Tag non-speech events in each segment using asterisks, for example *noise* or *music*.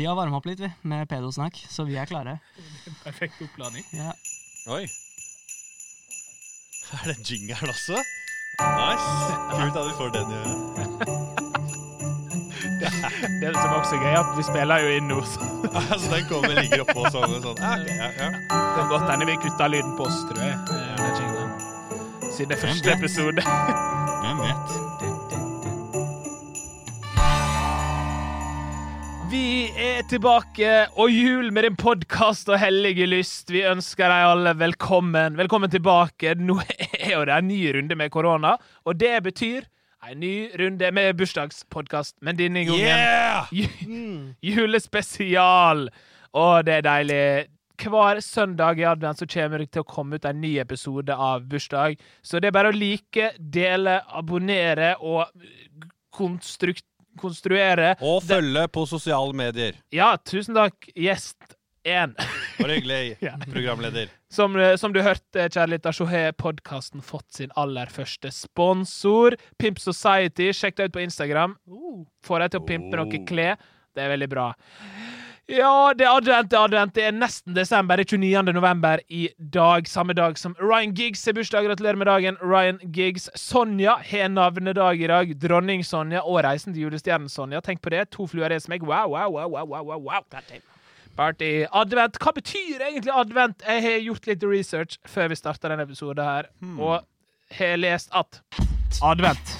Vi har varma opp litt, vi, med pedosnakk, så vi er klare. Perfekt oppladning. Ja. Oi. *laughs* Er det jingeren også? Nice. *laughs* Kult at vi får den i *laughs* øret. Det som også er gøy, er at vi spiller jo inn nå, så det Altså, den kommer ligger oppå sånn. og sånn. Ja, ok, ja, ja. kan godt hende vi kutter lyden på oss, tror jeg. eh, den jinglen. Siden det er vet? første episode. Hvem vet? Vi er tilbake, og jul med din podkast og hellige lyst. Vi ønsker deg alle velkommen. Velkommen tilbake. Nå er jo det en ny runde med korona, og det betyr en ny runde med bursdagspodkast. Men denne gangen Yeah! Ju- Julespesial! Å, det er deilig. Hver søndag i advent så kommer det til å komme ut en ny episode av Bursdag. Så det er bare å like, dele, abonnere og konstrukt, konstruere. Og følge på sosiale medier. Ja, tusen takk, gjest 1. Bare *laughs* hyggelig, Ja. programleder. Som, eh, som du hørte, kjære lytter, så har podkasten fått sin aller første sponsor. Pimp Society. Sjekk det ut på Instagram. Får deg til å pimpe Oh. noe klær. Det er veldig bra. Ja, det er advent, det er advent. Det er nesten desember. Det er 29. november i dag. Samme dag som Ryan Giggs har bursdag. Gratulerer med dagen, Ryan Giggs. Sonja har navnedag i dag. Dronning Sonja og Reisen til julestjernen Sonja. Tenk på det. To fluer i en smegg. Wow, wow, wow, wow, wow, wow. wow. God damn. Party. Advent. Hva betyr egentlig advent? Jeg har gjort litt research før vi starta denne episoden her, og har lest at Advent.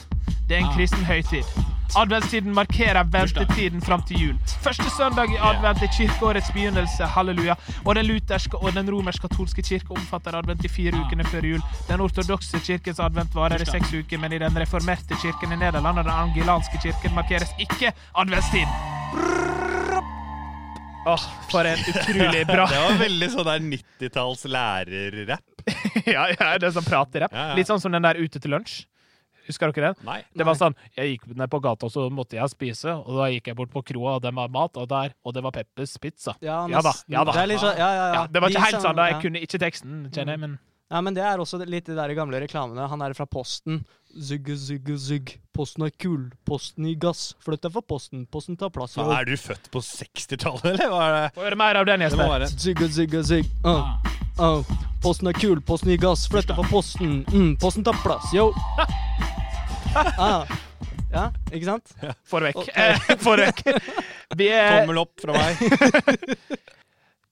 Det er en kristen høytid. Adventstiden markerer ventetiden fram til jul. Første søndag i advent er kirkeårets begynnelse, halleluja. Og den lutherske og den romersk-katolske kirke omfatter advent i fire ukene før jul. Den ortodokse kirkens advent varer i seks uker, men i den reformerte kirken i Nederland og den angilanske kirken markeres ikke adventstiden. Åh, for en utrolig bra Det var veldig sånn der 90-talls lærerrapp. Ja, ja, det er sånn praterapp. Ja, ja. Litt sånn som den der Ute til lunsj. Husker dere den? Nei. Det var sånn, Jeg gikk ned på gata, og så måtte jeg spise. Og da gikk jeg bort på kroa, og den var mat, og der, og det var Peppers pizza. Ja, Ja da, nesten. ja da. Det, er litt sånn- ja, ja, Mm. ja. Ja, det var De ikke helt som- sånn da, ja. jeg kunne ikke teksten, kjenner jeg, men Ja, men det er også litt de der gamle reklamene. Han er fra Posten. Zugge, zugge, zugg. Posten er kul. Posten i gass. Flytt deg fra Posten. Posten tar plass i Så år. er du født på 60-tallet, eller hva er det? Få høre mer av den, Det må Jesper. være Zugge, zugge, zugg. Uh, uh. Posten er kul. Posten i gass. Flytt deg fra Posten. Mm, posten tar plass, *laughs* yo. Ah. Ja, ikke sant? Få det vekk. Ok. Eh, *laughs* Få det vekk. *laughs* Vi er tommel opp fra meg. *laughs*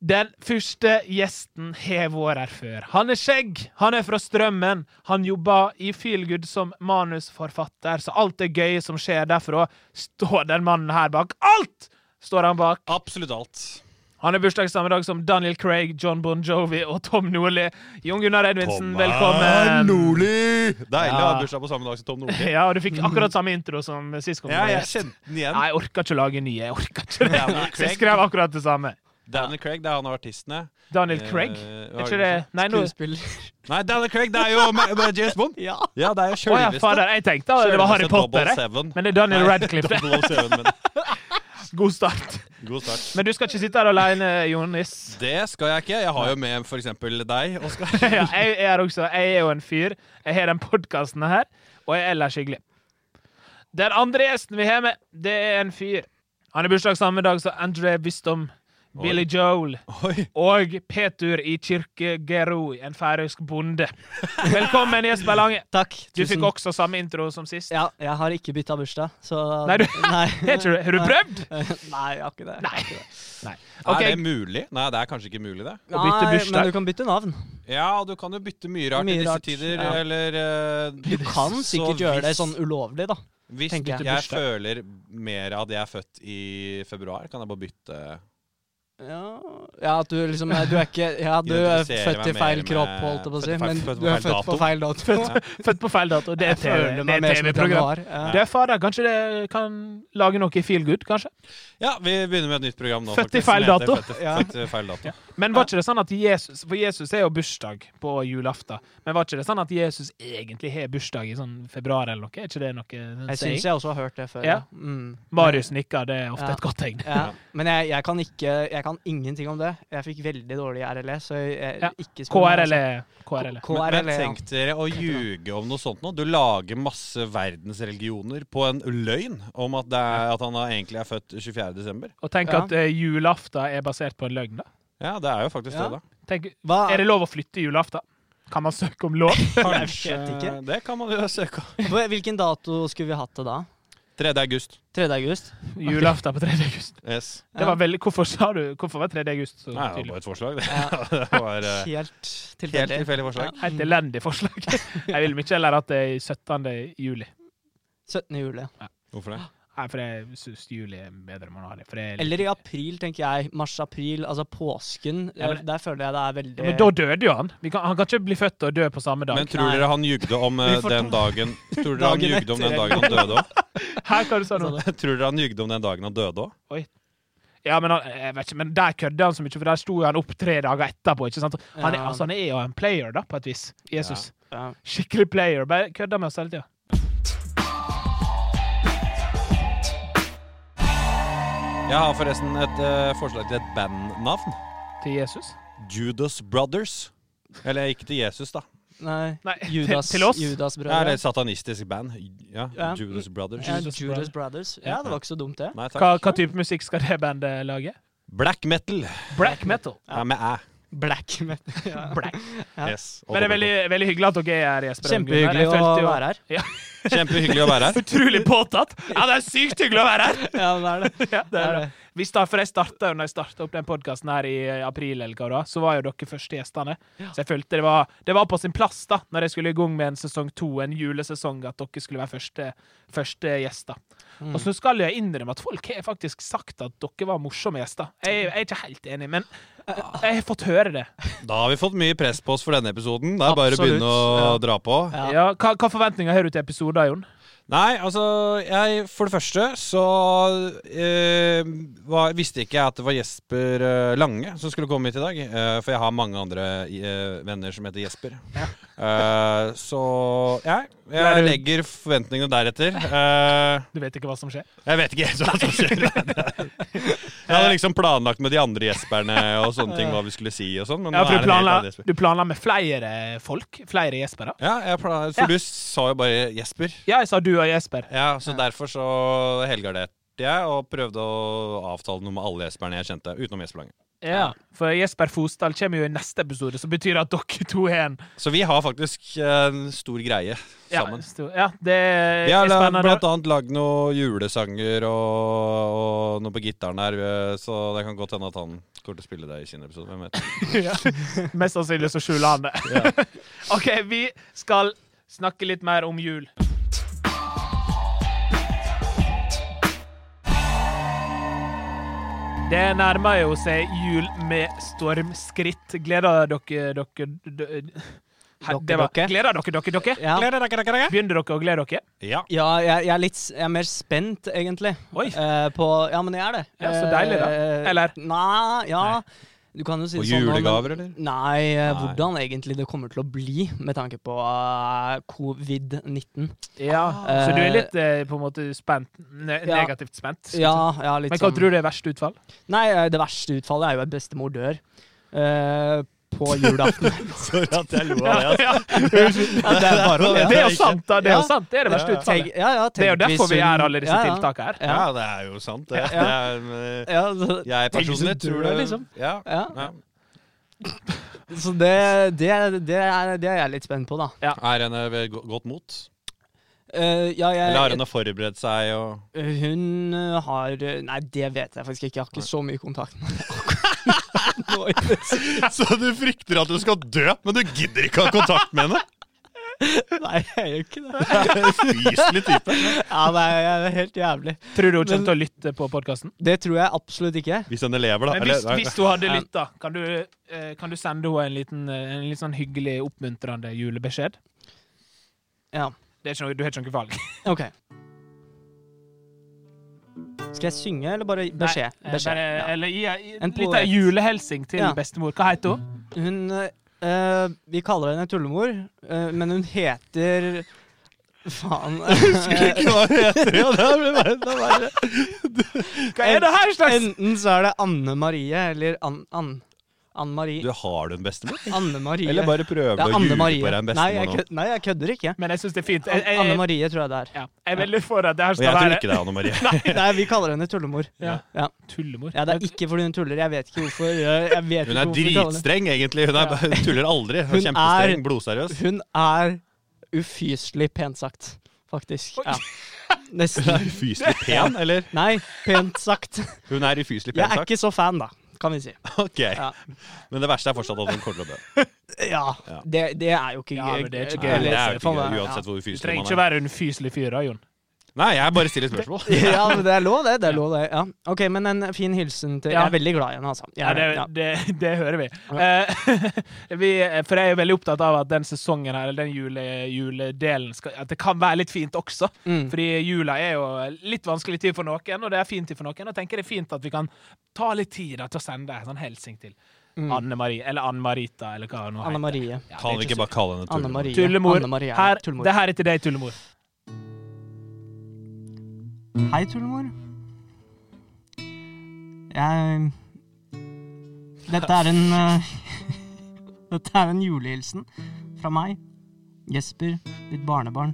Den første gjesten har vært her før. Han er skjegg, han er fra Strømmen. Han jobber i Feelgood som manusforfatter, så alt det gøye som skjer derfra, står den mannen her bak. Alt står han bak. Absolutt alt. Han har bursdag samme dag som Daniel Craig, John Bon Jovi og Tom Nordli. Jon Gunnar Edvindsen, Tom velkommen. Nordli! Deilig å ha Ja. bursdag på samme dag som Tom Nordli. Ja, og du fikk akkurat samme intro som sist gang. du Ja, var jeg gjest. kjente den igjen. Nei, jeg orka ikke å lage nye. Jeg orka ikke det. Daniel Så jeg Craig. skrev akkurat det samme. Daniel Craig, det er han av artistene. Daniel Craig? Eh, Er ikke det Nei, nå Skuespiller. Nei, Daniel Craig, det er jo Ma- Ma- James Bond. Ja. *laughs* Ja, det er jo Å ja, fader. Jeg tenkte at det var Harry oh Potter, jeg. Men det er Daniel *laughs* Radcliffe. det. God start. God start. *laughs* Men du skal ikke sitte her alene, Jonis. Det skal jeg ikke. Jeg har jo med for eksempel deg, Oskar. *laughs* Ja, jeg er her også. Jeg er jo en fyr. Jeg har den podkasten her, og jeg er ellers hyggelig. Den andre gjesten vi har med, det er en fyr. Han har bursdag samme dag som André Vistom, Billy Joel *laughs* Oi. og Petur i Kirkegero, en færøysk bonde. Velkommen, Jesper Lange. Takk. Du Tusen- fikk også samme intro som sist. Ja, jeg har ikke bytta bursdag, så Nei, du- *laughs* Nei. Har du- har du prøvd? Nei, jeg har ikke det. Nei. Nei. Er det OK, mulig? Nei, det er kanskje ikke mulig, det. Å bytte Nei, bursdag. Men du kan bytte navn. Ja, du kan jo bytte mye rart Mye i disse rart, tider, ja. eller eh, Du kan så sikkert gjøre det hvis- sånn ulovlig, da. Hvis tenker jeg. jeg. føler mer at jeg er født i februar, kan jeg bare bytte Ja, ja at du liksom Du er ikke Ja, du er Identifiserer født meg i feil mer kropp, med- holdt jeg på å si, født i feil- men født på du er feil født på dato. feil dato. født på feil dato. Det er Jeg føler meg mer som et TV-program. januar. Ja. Det er fader, kanskje det kan lage noe i Feel Good, kanskje? Ja, vi begynner med et nytt program nå. Født i faktisk, som feil heter dato. Født, i- Ja. født i feil dato. Men var ikke det sånn at Jesus For Jesus er jo bursdag på julaften. Men var ikke det sånn at Jesus egentlig har bursdag i sånn februar eller noe? Er ikke det noe sånn Jeg saying? syns jeg også har hørt det før. Ja. Mm. Marius nikker, det er ofte Ja. et godt tegn. Ja. Men jeg, jeg kan ikke Jeg kan ingenting om det. Jeg fikk veldig dårlig RLE, så jeg Ja. ikke altså. KRLE. KRLE. K- Men, men KRLE, E, ja. tenk dere å ljuge om noe sånt nå. Du lager masse verdensreligioner på en løgn om at, det er, at han er- egentlig er født 24.12. Og tenk Ja. at eh, julaften er basert på en løgn, da. Ja, det er jo faktisk Ja. *laughs* det, da. Tenk, Hva er det lov å flytte julaften? Kan man søke *laughs* om lov? Kanskje vet ikke. Det kan man jo søke om. Hva- Hvilken dato skulle vi hatt det da? 3. august. 3. august? Julaften på 3. august. Yes. Det var veldig, hvorfor sa du Hvorfor var 3. august så Nei, det var tydelig? bare et forslag, det. Ja. *laughs* det var eh, Helt helt tilfeldig. tilfeldig forslag. Et elendig forslag. Jeg ville mye heller hatt det i 17. juli. 17. juli. Hvorfor det? Nei, for jeg syns juli er en bedre måned. For det er litt- Eller i april, tenker jeg. Mars-april, altså påsken. Ja, men- Der føler jeg det er veldig Ja, Men da døde jo han. Vi kan, han kan ikke bli født og dø på samme dag. Men tror dere han ljugde om eh, Vi får ta- den dagen Tror dere han Dagen ljugde om den etter. dagen han *laughs* døde òg? Her kan du sa noe. Tror dere han ljugde om den dagen han døde òg? Ja, men, han, jeg vet ikke, men der kødde han så mye, for der sto han opp tre dager etterpå. ikke sant? Han er, Ja. altså, han er jo en player, da, på et vis. Jesus. Ja. Skikkelig player. Bare kødda med oss hele tida. Jeg har forresten et eh, forslag til et bandnavn. Til Jesus. Judas Brothers. Eller ikke til Jesus, da. Nei. Nei, Judas, til, til oss. Judas Det er brødre. et satanistisk band. Ja, Ja. Judas Brothers. Ja, Judas Judas Brothers. Ja, det var ikke så dumt, det. Nei Hva, takk. hva type musikk skal det bandet lage? Black metal. Black metal. Ja, med æ. Black metal. *laughs* Ja. Black. Ja. Yes. Og Men det er dobbelt veldig, veldig hyggelig at dere er her, Jesper. og Gunnar. Kjempehyggelig Jeg å følte jo- være *laughs* her. O. Kjempehyggelig å være her. Utrolig påtatt! Ja, det er sykt hyggelig å være her! *laughs* Ja, det er det. Ja, *laughs* det Det er er bra. det. Vi start, for jeg starta når jeg starta opp den podkasten her i eh, april, eller hva det var, så var jo dere første gjestene. Så jeg følte det var, det var på sin plass, da, når jeg skulle i gang med en sesong to, en julesesong, at dere skulle være første, første gjester. Mm. Og så skal jeg innrømme at folk har faktisk sagt at dere var morsomme gjester. Jeg, jeg er ikke helt enig, men jeg har fått høre det. Da har vi fått mye press på oss for denne episoden. Det er bare å Absolutt. begynne å Ja. dra på. Mm. Ja. Ja, hva, hva forventninger har du til episoder, Jon? Nei, altså jeg, For det første så eh, var, visste ikke jeg at det var Jesper eh, Lange som skulle komme hit i dag. eh, for jeg har mange andre eh, venner som heter Jesper. Eh, så ja, Ble jeg du- legger forventningene deretter. Eh, Du vet ikke hva som skjer? jeg vet ikke helt hva som skjer. Jeg hadde liksom planlagt med de andre Jesperne og sånne ting hva vi skulle si og sånn. Men Ja, nå for du er det en helt planla, annen Jesper. du planla med flere folk? Flere Jespere? Ja, jeg planla, Ja. for du sa jo bare Jesper. Ja, jeg sa du og Jesper. Ja, så derfor så helgarderte jeg og prøvde å avtale noe med alle jesperne jeg kjente, utenom Jesper Lange. Ja, for Jesper Fosdal kommer jo i neste episode, som betyr at dere to er en Så vi har faktisk en stor greie ja, sammen. sto- Ja, det er Vi har la- spennende. blant annet lagd noen julesanger og, og noe på gitaren her, eh, så det kan godt hende at han kommer til å spille det i sin episode. Hvem vet. Ja. Mest sannsynlig så skjuler han det. *laughs* OK, vi skal snakke litt mer om jul. Det nærmer jo seg jul med stormskritt. Gleder dere dere d- d- Her, det var- dere? Gleder dere dere dere? Ja. Gleder dere, dere, dere? Begynner dere å glede dere? Ja. Ja, jeg, jeg er litt s- jeg er mer spent, egentlig. Oi. Eh, på, ja, men jeg er det. Ja, så deilig, da. Eh, Eller? Nei, ja. Du kan jo si Og det sånn. nå, men- julegaver, eller? Nei, eh, Nei. hvordan egentlig det kommer til å bli med tanke på eh, covid-19. Ja, Ah. Så du er litt eh, på en måte spent? Ne Ja. Negativt spent? Ja, ja, litt Men hva sånn. tror du er verste utfall? Nei, eh, det verste utfallet er jo at bestemor dør. eh, på julaften. *laughs* *laughs* Sorry at jeg lo Ja, *laughs* ja. ja, det er bare å Det le. er jo sant, da. Det er jo Ja. sant. Det er det verste Ja. Tenk- utfallet. ja, ja, Det er jo tenk hvis derfor vi hun- gjør alle disse ja, ja. tiltakene her. Ja. Ja, det er jo sant, det. det Ja. er, eh, Ja, så, jeg Tenk hvis du personlig tror dør, det liksom. Ja. ja. ja. så det, det, det, er, det er jeg litt spent på, da. Er henne ved go- godt mot? Eh, ja, jeg, Eller har hun forberedt seg og Hun eh, har eh, Nei, det vet jeg faktisk ikke. Jeg har ikke så mye kontakt med henne. Nå i det siste. *laughs* Så du frykter at du skal dø, men du gidder ikke ha kontakt med *laughs* henne? *laughs* Nei, jeg gjør ikke det. Fyselig type. Ja, nei, det er helt jævlig. Tror du hun kommer til å lytte på podkasten? Det tror jeg absolutt ikke. Hvis henne lever, da. Men hvis, Eller- hvis hun hadde lytta, kan, du, eh, kan du sende henne en liten eh, en litt sånn hyggelig, oppmuntrende julebeskjed? Ja, Det er ikke noe, du har ikke noe valg. OK. Skal jeg synge, eller bare beskjed? Nei, eh, beskjed. Bare, Ja. Eller gi ei- En en liten poet. julehelsing til Ja. bestemor. Hva heter hun? Hun eh, Vi kaller henne Tullemor, eh, men hun heter *laughs* Faen. Husker ikke hva det heter. Ja, det er bare, det er bare. Hva er det her slags Enten så er det Anne Marie eller Ann... Ann Ann Marie. Du har du en bestemor? Anne Marie. Eller bare prøver det å er Anne ljuge på Marie. deg en Nei jeg, bestemor nå? kød, nei, jeg kødder ikke. Men jeg syns det er fint. Jeg, jeg, Anne jeg, Marie tror jeg det er. ja. jeg er veldig for at det her Og skal jeg tror være ikke det er Anne Marie. *laughs* Nei, vi kaller henne tullemor. Ja. Ja. Tullemor. Ja, det er ikke fordi hun tuller. Jeg vet ikke hvorfor. Jeg, jeg vet Hun ikke er hvorfor vi kaller henne- dritstreng, egentlig. Hun, er, hun tuller aldri. Hun Hun er er- kjempestreng, blodseriøs. Hun er ufyselig pent sagt, faktisk. Ja. Hun Nesten. er ufyselig pen, eller? Nei, pent sagt. Hun er ufyselig Jeg pen, er sagt. ikke så fan, da, kan vi si. Ok. Ja. Men det verste er fortsatt at hun kommer til å dø. Ja, Ja. det, det er jo ikke Ja, gøy. men det er ikke Nei, gøy. Det er jo ikke Faen, gøy, ja. uansett hvor Du ufyselig trenger man ikke er. være en fyselig fyr da, Jon. Nei, jeg bare stiller spørsmål. *laughs* Ja, men det er lov, det. det er lov det, ja. OK, men en fin hilsen til Ja. Jeg er veldig glad i henne, altså. Jeg Ja, er det, ja. det, det hører vi. Eh, *laughs* vi. For jeg er veldig opptatt av at den sesongen her, eller den jule, juledelen, skal, at det kan være litt fint også. Mm. Fordi jula er jo litt vanskelig tid for noen, og det er fin tid for noen. Og jeg tenker det er fint at vi kan ta litt tid da, til å sende en sånn hilsen til Mm. Anne Marie, eller Ann Marita, eller hva hun nå Anne Marie. Ja, det er Kan vi ikke så- bare kalle henne Anne Tulle? Marie. Tullemor. Anne Marie er Her, tullemor. det her er til deg, tullemor. Hei, tullemor. Jeg Dette er en eh, *laughs* Dette er en julehilsen fra meg, Jesper, ditt barnebarn.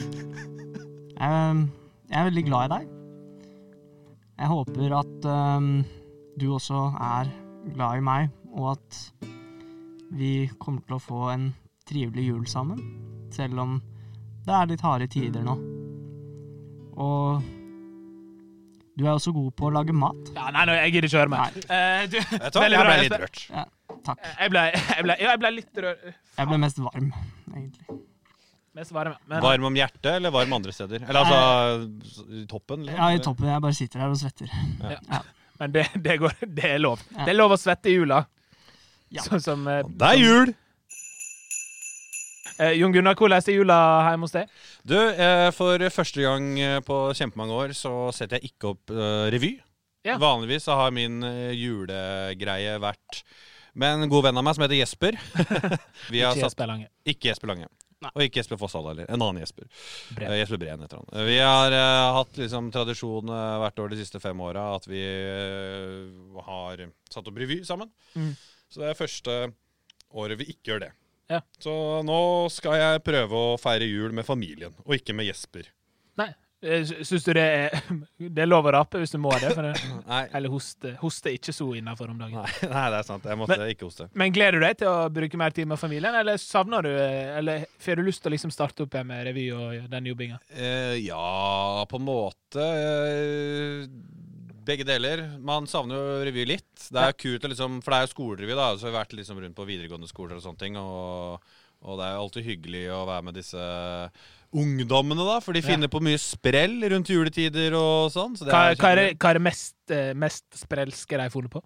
Jeg, jeg er veldig glad i deg. Jeg håper at eh, du også er glad i meg, og at vi kommer til å få en trivelig jul sammen, selv om det er litt harde tider nå. Og du er også god på å lage mat. Ja, nei, nei, jeg gidder ikke høre mer. Nei. Eh, du- Vet du hva, Veldig jeg bra, ble Jesper. litt rørt. Takk. jeg ble, jeg ble, ja, jeg ble litt rød. Jeg ble mest varm, egentlig. Mest varm, ja. Men, Varm om hjertet, eller varm andre steder? Eller altså i toppen? liksom? Ja, i toppen. Jeg bare sitter her og svetter. men det, det, går, det er lov. Ja. Det er lov å svette i jula. Ja. Sånn som eh, Det er jul! eh, Jon Gunnar, hvordan er jula hjemme hos deg? Du, eh, for første gang eh, på kjempemange år så setter jeg ikke opp eh, revy. Ja. Vanligvis så har min eh, julegreie vært med en god venn av meg som heter Jesper. *laughs* Vi har Ikke satt Jesper Lange. Ikke Jesper Lange. Nei. Og ikke Jesper Fossal heller. En annen Jesper. Breen. Eh, Jesper Breen heter han. Eh, Vi har eh, hatt liksom tradisjon eh, hvert år de siste fem åra at vi eh, har satt opp revy sammen. Mm. Så det er første året vi ikke gjør det. Ja. Så nå skal jeg prøve å feire jul med familien, og ikke med Jesper. Nei. eh, sy- Syns du det er, *laughs* det er lov å rape hvis du må det? For det Nei, nei, eller hoste. Hoste er ikke så innafor om dagen. nei *laughs* det er sant. Jeg måtte ikke hoste. Men gleder du deg til å bruke mer tid med familien, eller savner du eh, Eller får du lyst til å liksom starte opp igjen med revy og den jobbinga? Eh, ja, på en måte. eh, begge deler. Man savner jo revy litt. Det er kult, å liksom, for det er jo skolerevy, da. Så vi har vært liksom rundt på videregående skoler og sånne ting. Og, og det er jo alltid hyggelig å være med disse ungdommene, da. For de finner på mye sprell rundt juletider og sånn. Så det Hva, hva, er skikkelig- det- hva er det mest, eh, mest sprelske de har funnet på?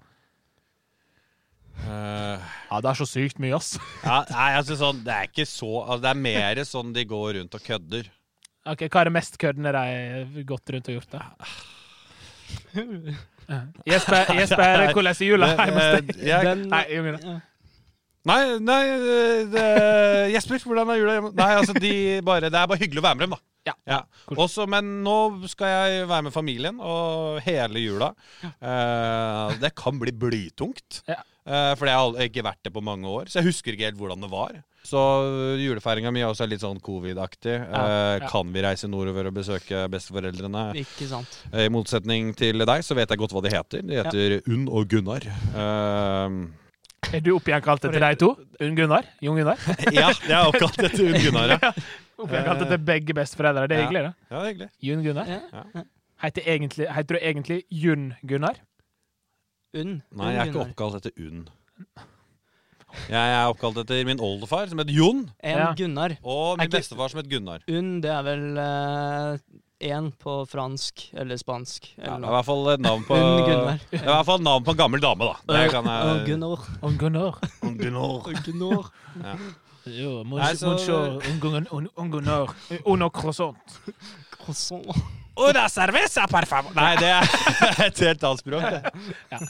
Eh, Ja, det er så sykt mye, ass. ja, nei, altså sånn Det er ikke så altså, Det er mer sånn de går rundt og kødder. Ok, Hva er det mest køddende de har gått rundt og gjort? da? Jesper, Jesper hvordan er jula hjemme hos deg? Eh, jeg, Den Nei, jeg mener- Nei, nei eh, det, Jesper, hvordan er jula hjemme? Nei, altså, de bare, Det er bare hyggelig å være med dem, da. Ja. Cool. Også, men nå skal jeg være med familien og hele jula. Eh, det kan bli blytungt. Ja. Eh, for jeg har al- ikke vært det på mange år, så jeg husker ikke helt hvordan det var. Så julefeiringa mi er også litt sånn covid-aktig. Ja, Eh, ja. Kan vi reise nordover og besøke besteforeldrene? Eh, Ikke sant. I motsetning til deg, så vet jeg godt hva de heter. De heter Unn og Gunnar. *laughs* Eh, Er du oppgjenkalt etter de to? Unn Gunnar? Jon Gunnar? ja, jeg er oppkalt etter Unn Gunnar, ja. *laughs* Oppgjenkalt etter begge besteforeldre. Det er Ja. hyggelig, da. Ja, det er hyggelig. Jun Gunnar. Ja. Heter, egentlig, heter du egentlig Jun Gunnar? Unn. Nei, jeg er ikke Gunnar. oppkalt etter Unn. Jeg er oppkalt eter min oldefar, som het Jon, En Ja. Gunnar. og Er min ikke- bestefar, som het Gunnar. Unn, det er vel én på fransk eller spansk eller Ja, det er i noe. hvert fall et navn på Unn Gunnar. Det er i hvert fall navn på en gammel dame, da. Det kan eh, Å, jeg Gunnar. Unn Gunnar. Unn Gunnar. Gunnar. Jo, Nei, så- monsieur Unn Gunnar- Unn- Unn Gunnar. Uno croissant. Croissant. Una cerveza, per favor. *laughs* Nei, det er et helt annet språk. det.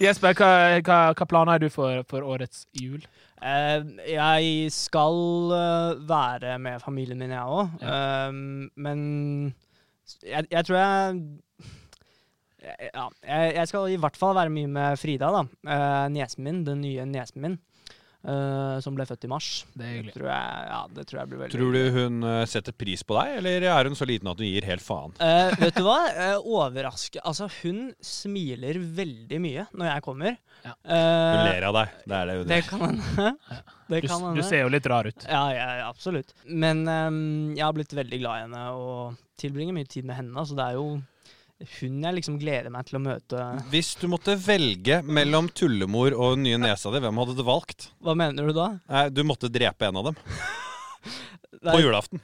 Jesper, hva, hva, hva planer har du for, for årets jul? Eh, jeg skal eh, være med familien min, jeg òg. men s- jeg, jeg tror jeg jeg- ja, jeg, jeg skal i hvert fall være mye med Frida, da. Eh, niesen min, den nye niesen min. eh, som ble født i mars. Det er hyggelig. Tror jeg, ja, det tror jeg blir veldig Tror du hun eh, setter pris på deg, eller er hun så liten at hun gir helt faen? Eh, vet du hva? Eh, overraske Altså, hun smiler veldig mye når jeg kommer. Ja. Hun Eh, ler av deg. Det er det hun det kan hende. Det Du, kan du hende. ser jo litt rar ut. Ja, ja, ja, absolutt. Men ehm, jeg har blitt veldig glad i henne og tilbringer mye tid med henne. Så det er jo hun jeg liksom gleder meg til å *laughs* møte. Hvis du måtte velge mellom tullemor og den nye nesa di, hvem hadde du valgt? Hva mener du da? Nei, Du måtte drepe en av dem. Det På er- julaften.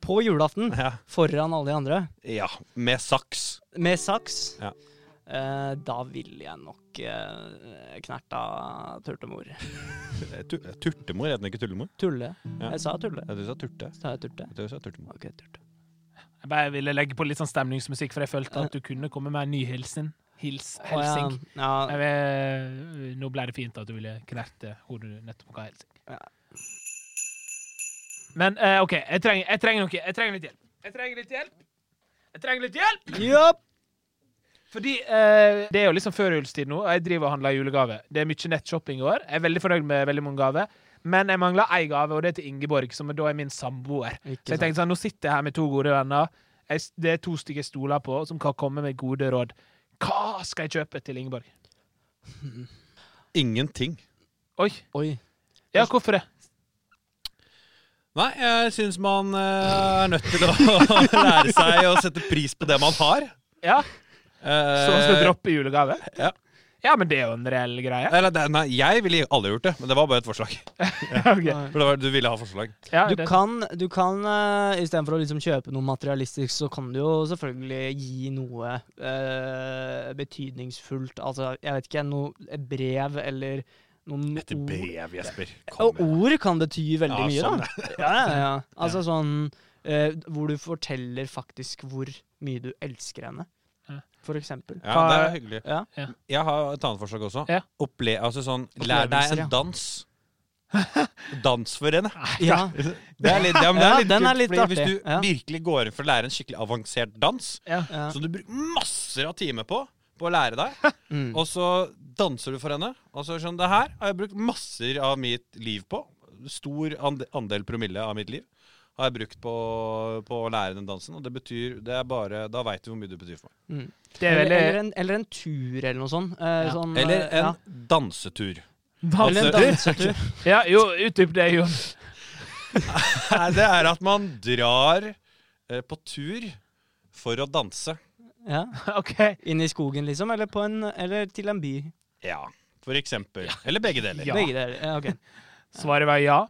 på julaften. Ja. Foran alle de andre. ja. Med saks. Med saks. Ja. Eh, da ville jeg nok eh, knerta turtemor. Eh, tu- eh, Turtemor, heter den ikke tullemor? Tulle. Ja. Jeg sa tulle. Ja, du sa turte. Sa jeg turte? Jeg tror du sa turtemor. Ok, turte. Jeg bare ville legge på litt sånn stemningsmusikk, for jeg følte at du kunne komme med en ny hilsen. Hils, Å, helsing. Ja, Jeg vil, nå ble det fint at du ville knerte hodet du nettopp ga helsing. Ja. Men eh, OK, jeg trenger, jeg trenger noe. Jeg trenger litt hjelp. Jeg trenger litt hjelp. Jeg trenger litt hjelp! ja. Japp. Fordi eh, det er jo liksom førjulstid nå, og jeg driver og handler julegave. Det er mye nettshopping i år. Jeg er veldig fornøyd med veldig mange gaver. Men jeg mangler ei gave, og det er til Ingeborg, som da er min samboer. Ikke Så jeg tenkte sånn, nå sitter jeg her med to gode venner. Jeg, s- det er to stykker jeg stoler på, som kan komme med gode råd. Hva skal jeg kjøpe til Ingeborg? Ingenting. Oi. Oi. Ja, hvorfor det? Nei, jeg syns man eh, er nødt til å *laughs* lære seg å sette pris på det man har. Ja, Så man skal Eh, droppe julegave? ja. Ja, men det er jo en reell greie. Eller, det- nei, jeg ville aldri gjort det, men det var bare et forslag. *laughs* Ok. Nei. For det var, du ville ha forslag. Ja, Du det- kan, du kan eh, istedenfor å liksom kjøpe noe materialistisk, så kan du jo selvfølgelig gi noe eh, betydningsfullt. Altså, jeg vet ikke, noe et brev eller noen Et ord. brev, Jesper. Mm. Og ord kan bety veldig Ja, mye, da. *laughs* Ja, *laughs* ja, ja. Altså sånn eh, hvor du forteller faktisk hvor mye du elsker henne, Ja. for eksempel. *laughs* Ja, det er hyggelig. Ja. Ja. Jeg har et annet forslag også. Ja. Opple altså sånn, lær Opplevelser, deg ja. en dans. Dans for henne. Ja. Det er litt, ja, men det Ja, er litt den er kult, litt fordi artig. Hvis du Ja. virkelig går inn for å lære en skikkelig avansert dans, ja. Ja. som du bruker masser av timer på, på å lære deg, Mm. og så danser du for henne, og så er det sånn, det her har jeg brukt masser av mitt liv på, stor ande- andel promille av mitt liv, har jeg brukt på, på å lære den dansen, og det betyr, det er bare, da vet du hvor mye det betyr for meg. Mm. Det er Eller, eller, veldig en, eller en tur, eller noe sånt. eh, Ja. sånn, Eller eh, en ja. dansetur. *laughs* eller en dansetur. Ja, jo, utdyp det, Jon. *laughs* Nei, det er at man drar eh, på tur for å danse. Ja. OK. Inn i skogen, liksom? Eller, på en, eller til en by? Ja, for eksempel. Eller begge deler. Ja. Begge deler. Ja, *laughs* ok. Svaret var ja.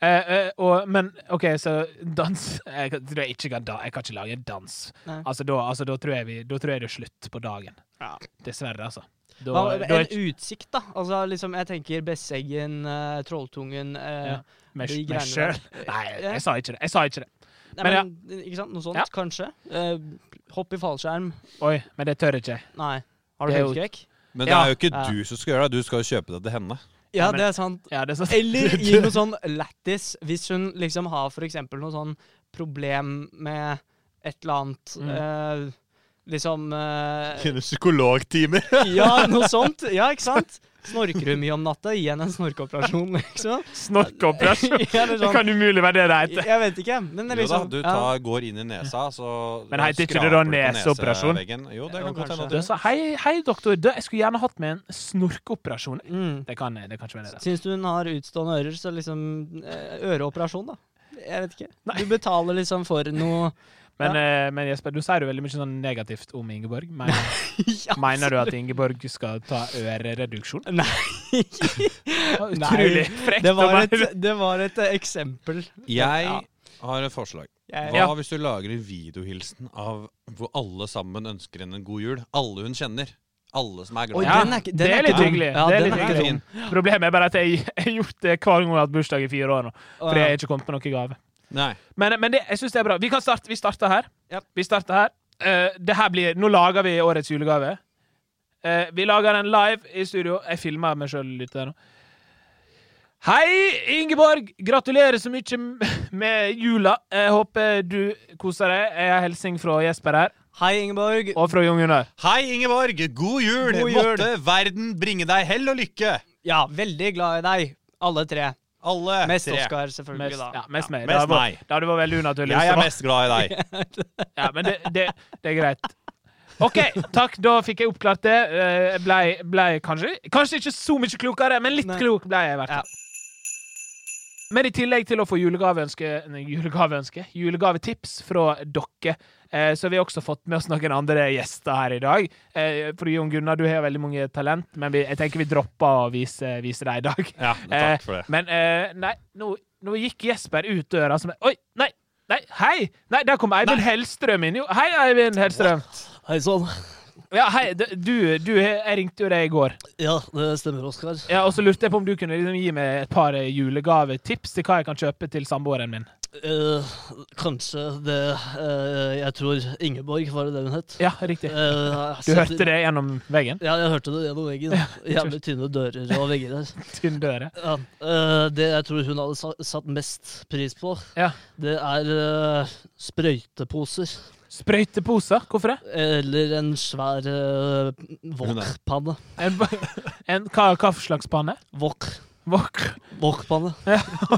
Eh, eh, og, men OK, så dans Jeg kan- tror jeg ikke kan da, Jeg kan ikke lage en dans. Nei. Altså, da, altså, da, tror jeg vi, da tror jeg det er slutt på dagen. Ja. Dessverre, altså. Da, Hva, da en er ikke utsikt, da. Altså, liksom, jeg tenker Besseggen, eh, Trolltungen eh, Ja, meg de meg greiene der. Eh. sjøl. Nei, Ja. jeg sa ikke det. Jeg sa ikke det. Nei, men, Men Ikke sant? Noe sånt, Ja. kanskje? Eh, hopp i fallskjerm? Oi, men det tør jeg ikke. Nei. Har du Det er jo- høydeskrekk? Men det Ja. er jo ikke Ja. du som skal gjøre det, du skal jo kjøpe det til *laughs* henne. Ja, Nei, men- det er sant. Ja, det er *laughs* sånn. Eller gi noe sånn lættis, hvis hun liksom har for eksempel noe sånn problem med et eller annet Mm. eh, Liksom eh, Psykologtimer. Ja, noe sånt. Ja, ikke sant? Snorker hun mye om natta? Gi henne en snorkeoperasjon, *laughs* liksom. Snorkeoperasjon. Ja, *laughs* det er Det sånn. kan umulig være det det heter. Jeg vet ikke, men det er Jo da, liksom du ja. tar, går inn i nesa, så Men heter ikke det skraper da du på neseoperasjon? neseveggen. Jo, det Jo, kan godt hende. kanskje. Du at sa hei, hei, doktor, du, jeg skulle gjerne hatt med en snorkeoperasjon. mm. Det kan, det kan ikke være det. altså. Syns du hun har utstående ører, så liksom eh, øreoperasjon, da. Jeg vet ikke. Nei. Du betaler liksom for noe *laughs* Men, eh, men Jesper, du sier jo veldig mye sånn negativt om Ingeborg. Men, *laughs* ja. altså- mener du at Ingeborg skal ta ørereduksjon? Nei. Utrolig frekt. Det var å et, være- det var et eh, eksempel. det- Jeg Ja. har et forslag. Jeg, Hva hvis du lager en videohilsen av hvor alle sammen ønsker henne en god jul? Alle hun kjenner. Alle som er glad Oi, i Ja, den er, ikke- den det er ikke litt dum. hyggelig. Ja, Det er den litt ikke hyggelig. dum. *laughs* Problemet er bare at jeg jeg har gjort det hver gang hun har hatt bursdag i fire år nå. Å, Fordi jeg ikke har kommet på noen gave. henne. Nei. Men, men det, jeg syns det er bra. Vi kan starte. Vi starter her. Ja. Vi starter her. Eh, det her blir Nå lager vi årets julegave. Eh, vi lager den live i studio. Jeg filmer meg sjøl litt der nå. Hei, Ingeborg! Gratulerer så mye m- med jula. Jeg håper du koser deg. Jeg har hilsing fra Jesper her, Hei, Ingeborg. og fra Jon Gunnar. Hei, Ingeborg! God jul! God jul. Måtte verden bringe deg hell og lykke! Ja, veldig glad i deg, alle tre. Alle Mest tre. Oskar, selvfølgelig, Mest, da. ja, mest meg. mest Det hadde vært- meg. Det hadde vært veldig unaturlig. Jeg hvis det er var- mest glad i deg. Ja, men det, det, det er greit. OK, takk. Da fikk jeg oppklart det. Eh, Blei blei kanskje Kanskje ikke så mye klokere, men litt Nei. klok blei jeg i hvert fall. Men i tillegg til å få julegaveønske nei, julegaveønske julegavetips fra dere, eh, så har vi også fått med oss noen andre gjester her i dag. Eh, for Jon Gunnar, du har veldig mange talent, men vi, jeg tenker vi dropper å vise, vise deg i dag. *laughs* Ja, Eh, takk for det. Men eh, nei, nå, nå gikk Jesper ut døra som Oi, nei! Nei, hei! Nei, der kom Eivind Hellstrøm inn, jo. Hei, Eivind Hellstrøm. Hei sann. Ja, hei, d- du, du Jeg ringte jo deg i går, Ja, det stemmer, Oskar. ja, og så lurte jeg på om du kunne liksom, gi meg et par eh, julegavetips til hva jeg kan kjøpe til samboeren min. Eh, kanskje det eh, Jeg tror Ingeborg, var det det hun het? Ja, riktig. Eh, Du setter- hørte det gjennom veggen? Ja, jeg hørte det gjennom veggen. *laughs* Jævlig tynne dører og vegger her. Tynn døre. Ja, eh, det jeg tror hun hadde sa- satt mest pris på, Ja. det er eh, sprøyteposer. Sprøyteposer? Hvorfor det? Eller en svær uh, wok-panne. En, *laughs* en, hva, hva for slags panne? Wok. Vok. *laughs* Wok-panne.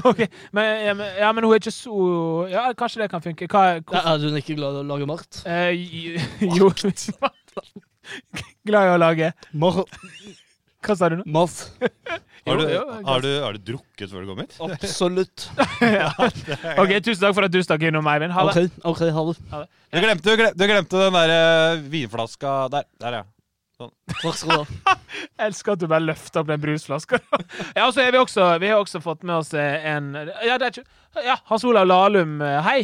Ok, Men, ja, men, ja, men hun er ikke så Ja, kanskje det kan funke. Hva, hvor, Er hun ikke glad i å lage mat? Eh, *laughs* j- jo Glad i å lage Mat. Hva sa du nå? Mat. Har du, jo, jo, har, du, har du drukket før du kom hit? Absolutt. OK, tusen takk for at du stakk innom, Eivind. Ha det. OK, ok, ha det. Du glemte, du glemte, du glemte den der eh, vinflaska der. Der, ja. Takk skal du ha. Jeg elsker at du bare løfter opp den brusflaska. *laughs* ja, og så har vi også Vi har også fått med oss eh, en Ja, det er ikke Ja, Hans Olav Lahlum, eh, hei.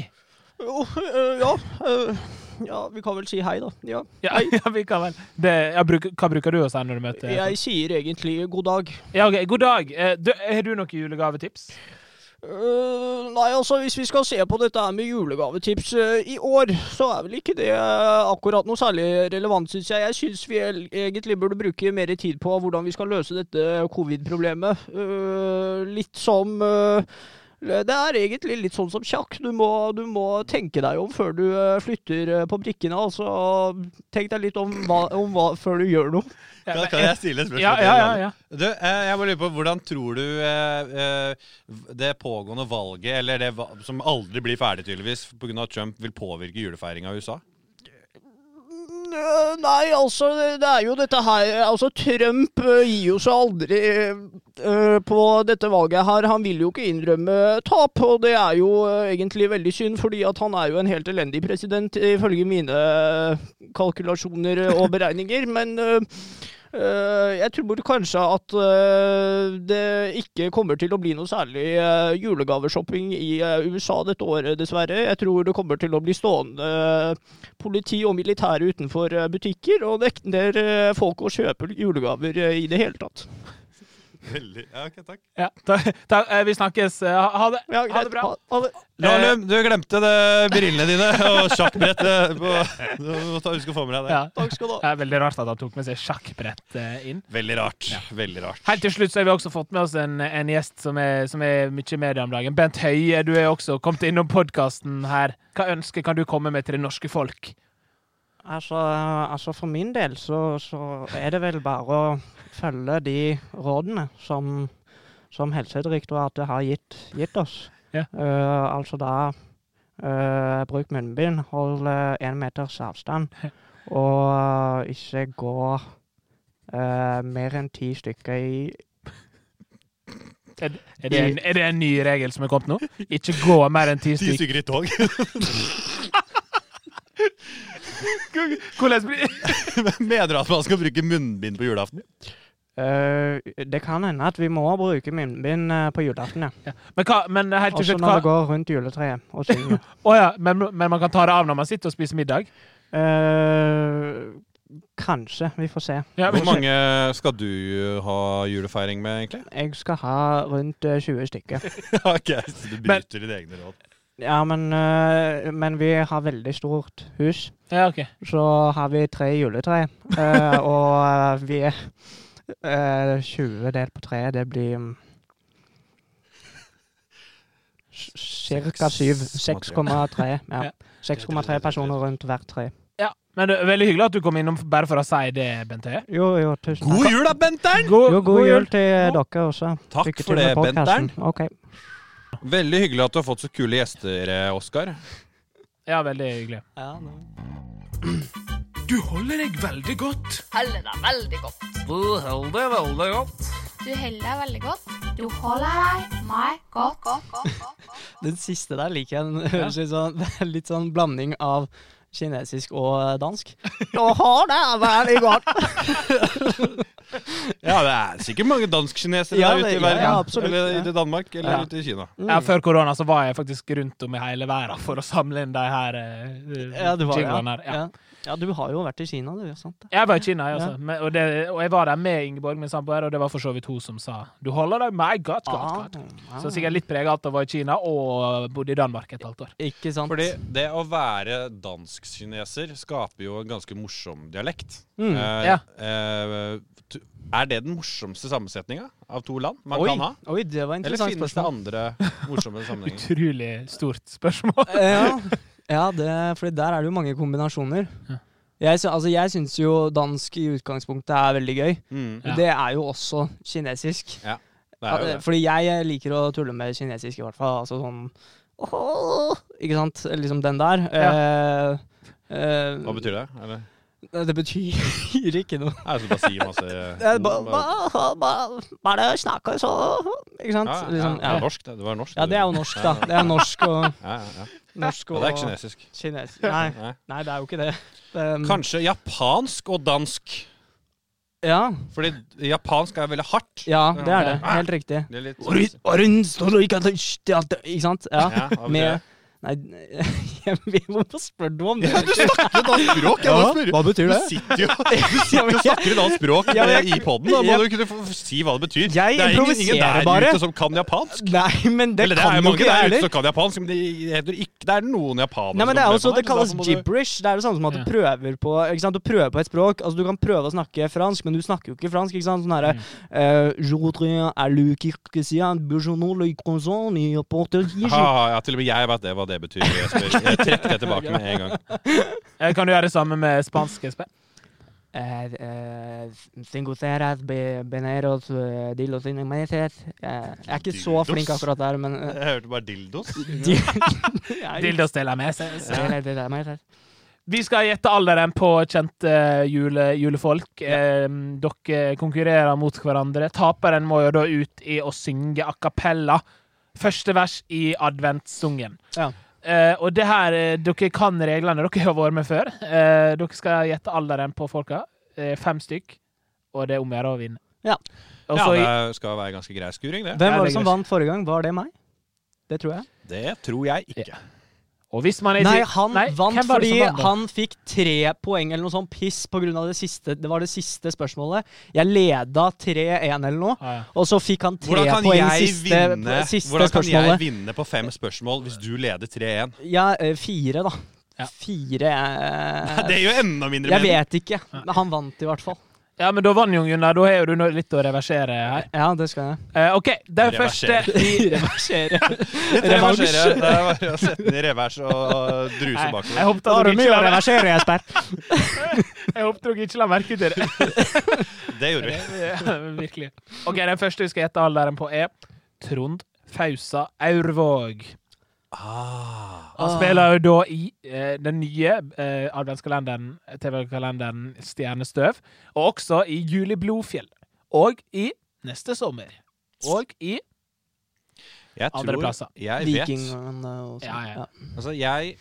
Jo, øh, ja. øh, ja, vi kan vel si hei, da. Ja. Ja, *laughs* ja vi kan vel det, ja, bruk, Hva bruker du å si når du møter Jeg sier egentlig god dag. Ja, ok, God dag. Eh, du, har du noen julegavetips? Øh, nei, altså, hvis vi skal se på dette her med julegavetips øh, i år, så er vel ikke det øh, akkurat noe særlig relevant, syns jeg. Jeg syns vi el- egentlig burde bruke mer tid på hvordan vi skal løse dette covid-problemet. Øh, litt som øh, det er egentlig litt sånn som sjakk. Du må, du må tenke deg om før du øh, flytter øh, på brikkene. Altså, tenk deg litt om hva, om hva før du gjør noe. Ja, Kan, men- kan jeg stille et spørsmål? Eh, ja, til ja, ja, Jan? ja. Du, eh, jeg bare lurer på, Hvordan tror du eh, eh, det pågående valget, eller det va- som aldri blir ferdig tydeligvis pga. Trump, vil påvirke julefeiringa i USA? Øh, Nei, altså, det- det er jo dette her Altså, Trump øh, gir jo seg aldri øh, på dette valget her. Han vil jo ikke innrømme tap, og det er jo øh, egentlig veldig synd, fordi at han er jo en helt elendig president, ifølge mine øh, kalkulasjoner og beregninger. Men øh, øh, jeg tror kanskje at øh, det ikke kommer til å bli noe særlig øh, julegaveshopping i øh, USA dette året, dessverre. Jeg tror det kommer til å bli stående øh, politi og militære utenfor eh, butikker, og nekter eh, folk å kjøpe julegaver eh, i det hele tatt. Veldig, ja, ok, takk. ja takk, takk, eh, vi snakkes. Eh, Ha, ha det. Ja, ha greit. det bra. Ha- ha det. Eh. Lahlum, du glemte det, brillene dine og sjakkbrettet. *laughs* på- Du må ta- huske å få med deg det. Ja. Takk skal du ha. Det er veldig rart at han tok med seg sjakkbrett eh, inn. Veldig rart. Veldig rart. Helt til slutt så har vi også fått med oss en, en gjest som er, som er mye i media om dagen. Bent Høie, du er også kommet innom podkasten her. Hva ønske kan du komme med til det norske folk? Altså, altså for min del så, så er det vel bare å følge de rådene som, som Helsedirektoratet har gitt, gitt oss. Ja. Eh, altså da eh, bruk munnbind, hold én meters avstand, og ikke gå eh, mer enn ti stykker i Er, er, det, en, er det en ny regel som er kommet nå? Ikke gå mer enn ti Ti *laughs* stykker. stykker i tog. *laughs* Hvordan blir Mener du at man skal bruke munnbind på julaften? Eh, det kan hende at vi må bruke munnbind eh, på julaften, ja. Men, hva, men helt til Også slutt, når sånn det hva? går rundt juletreet og *laughs* synger. Å ja, men, men man kan ta det av når man sitter og spiser middag? Eh, kanskje. Vi får se. Ja, Hvor men- mange skal du ha julefeiring med, egentlig? *laughs* Jeg skal ha rundt eh, 20 stykker. Ok, *laughs* så Du Men- bryter dine egne råd. Ja, men, eh, men vi har veldig stort hus. Ja, ok. Så har vi tre juletre, *laughs* eh, og eh, vi er eh, 20 delt på tre, det blir mm, s- Cirka syv. Seks 6,3. Ja. Ja. 6,3 personer rundt hvert tre. Ja, men det er Veldig hyggelig at du kom innom bare for å si det, Bent Høie. Jo, jo, tusen takk. God jul da, Bentern! Jo, god jul til eh, dere også. Takk Lykke til for det, med podcasten. Bentern. Ok. Veldig hyggelig at du har fått så kule gjester, eh, Oskar. Ja, veldig hyggelig. Du holder deg veldig godt. Heller deg veldig godt. Du holder deg veldig godt. Du holder deg meg godt. Den siste der liker jeg. Den høres ut som det er litt sånn *laughs* blanding av kinesisk og eh, dansk. Nå har det veldig godt! *laughs* Ja, det er sikkert mange dansk-kinesere Ja, der ute det- i verden. ja, absolutt, eller ja. ute i Danmark, eller Ja. ute i Kina. Mm. Ja, Før korona så var jeg faktisk rundt om i hele verden for å samle inn de her eh, Ja, det var, ja. jinglene her. Ja. Ja. ja, du har jo vært i Kina, du. Sant? det? Jeg var i Kina, jeg også. Men, og, det, og jeg var der med Ingeborg, min samboer, og det var for så vidt hun som sa Du holder deg meg godt, godt, godt. Ah, Så sikkert litt prega av at jeg var i Kina og bodde i Danmark et halvt år. Ikke sant? Fordi det å være dansk-kineser skaper jo en ganske morsom dialekt. Mm, Eh, ja. eh, t- er det den morsomste sammensetninga av to land man oi, kan ha? oi, det var Eller et interessant finnes det spørsmål. andre morsomme *laughs* sammenhenger? Utrolig stort spørsmål. *laughs* *laughs* Ja, ja det, fordi der er det jo mange kombinasjoner. Ja. Jeg, sy- altså, jeg syns jo dansk i utgangspunktet er veldig gøy. Mm, Ja. Det er jo også kinesisk. det er jo Ja, det. Fordi jeg liker å tulle med kinesisk, i hvert fall. Altså sånn «Åh!» Ikke sant? Liksom den der. Eh, eh, Hva betyr det? Eller? det betyr *laughs* ikke noe. Nei, så bare sier masse eh, Det er ord, ba- bare- ba- ba- Bare snakke så Ikke sant? Ja, ja, Liksom, ja. Det er ja. norsk, det. Det var norsk. ja, det er jo norsk, da. Det er norsk og Ja, ja, ja. Norsk Ja, og det er ikke kinesisk. kines- Nei, Nei. nei, det er jo ikke det. Um, Mm. Kanskje japansk og dansk. Ehm, Ja, Fordi japansk er veldig hardt. ja, det er det. Helt riktig. Det er litt sånn- Ikke sant? Ja. Ja, hva betyr Med det? Nei, *laughs* jeg vet- hvorfor spør du om det? Du snakker dansk språk! Jeg bare spør. hva betyr Du sitter jo du sitter jo og snakker dansk språk Ja, men i jeg- poden. Da må du kunne få si hva det betyr. Jeg det er ingen, ingen improviserer der bare. ute som kan japansk. *laughs* Nei, men det Eller det kan er jo mange ikke det sånn der ute heller. som kan japansk, men det heter ikke Det er noen japanere Nei, men det som er jo opplever så det, det så kalles derfor må du- gibberish. Det er det samme som at du Ja. prøver på ikke sant? Du prøver på et språk. Altså, du kan prøve å snakke fransk, men du snakker jo ikke fransk. ikke sant? Sånn herre eh, «Je voudrais aller quelque sien, bourgeonneau, le croissant, ni apporte Ha, gisje». ha, ja, til og med jeg vet det, hva det betyr. Jesper. Jeg trekker det tilbake med en *laughs* gang. Eh, Kan du gjøre det samme med spansk, Espen? Eh, eh, cinco ceras, be- beneros, eh, dilos in meses. Eh, Jeg er ikke så Dildos? flink akkurat der, men eh, Jeg hørte bare dildos. di- Jeg- Dildos deler med seg. Eller det der meses. Vi skal gjette alderen på kjente jule, julefolk. Eh, dere konkurrerer mot hverandre. Taperen må jo da ut i å synge a cappella. Første vers i adventssangen. Ja. Eh, og det her, eh, dere kan reglene. Dere har vært med før. Eh, dere skal gjette alderen på folka. Eh, fem stykk. Og det er om å gjøre å vinne. Ja. Og Ja, så i- det skal være ganske grei skuring, Altså, det. det Hvem var er det som greit. vant forrige gang? Var det meg? Det tror jeg. Det tror jeg ikke. og hvis man er i Nei, tvil- han Nei, vant hvem var det fordi som vant da? han fikk tre poeng eller noe sånt piss på grunn av det siste. Det var det siste spørsmålet. Jeg leda 3-1 eller noe, Ah, ja. og så fikk han tre Hvordan kan, poeng jeg siste, vinne, siste hvordan kan jeg spørsmålet. vinne på fem spørsmål hvis du leder 3-1? Ja, eh, fire, da. Ja. Fire *laughs* eh, Det gjør enda mindre Jeg vet ikke, men han vant i hvert fall. Ja, men da vant jo Gunnar. Da har jo du nå litt å reversere her. Ja, det skal *laughs* jeg. Eh, OK, den Reversere. første i Revers. Reversere. Det er bare å sette den i revers og druse Nei, jeg bakover. håpet at dere ikke la merke- reversere, Jesper. jeg håpet dere ikke la merke til det. Det gjorde vi. *laughs* Ja, Virkelig. OK, den første vi skal gjette alderen på, er Trond Fausa Aurvåg. Ah, Han spiller jo da i eh, den nye eh, adventskalenderen, TV-kalenderen Stjernestøv, og også i Juli Blodfjell. Og i Neste sommer. Og i Jeg Andre plasser. tror jeg Viking vet og Ja, ja. sånn. Ja. Altså, jeg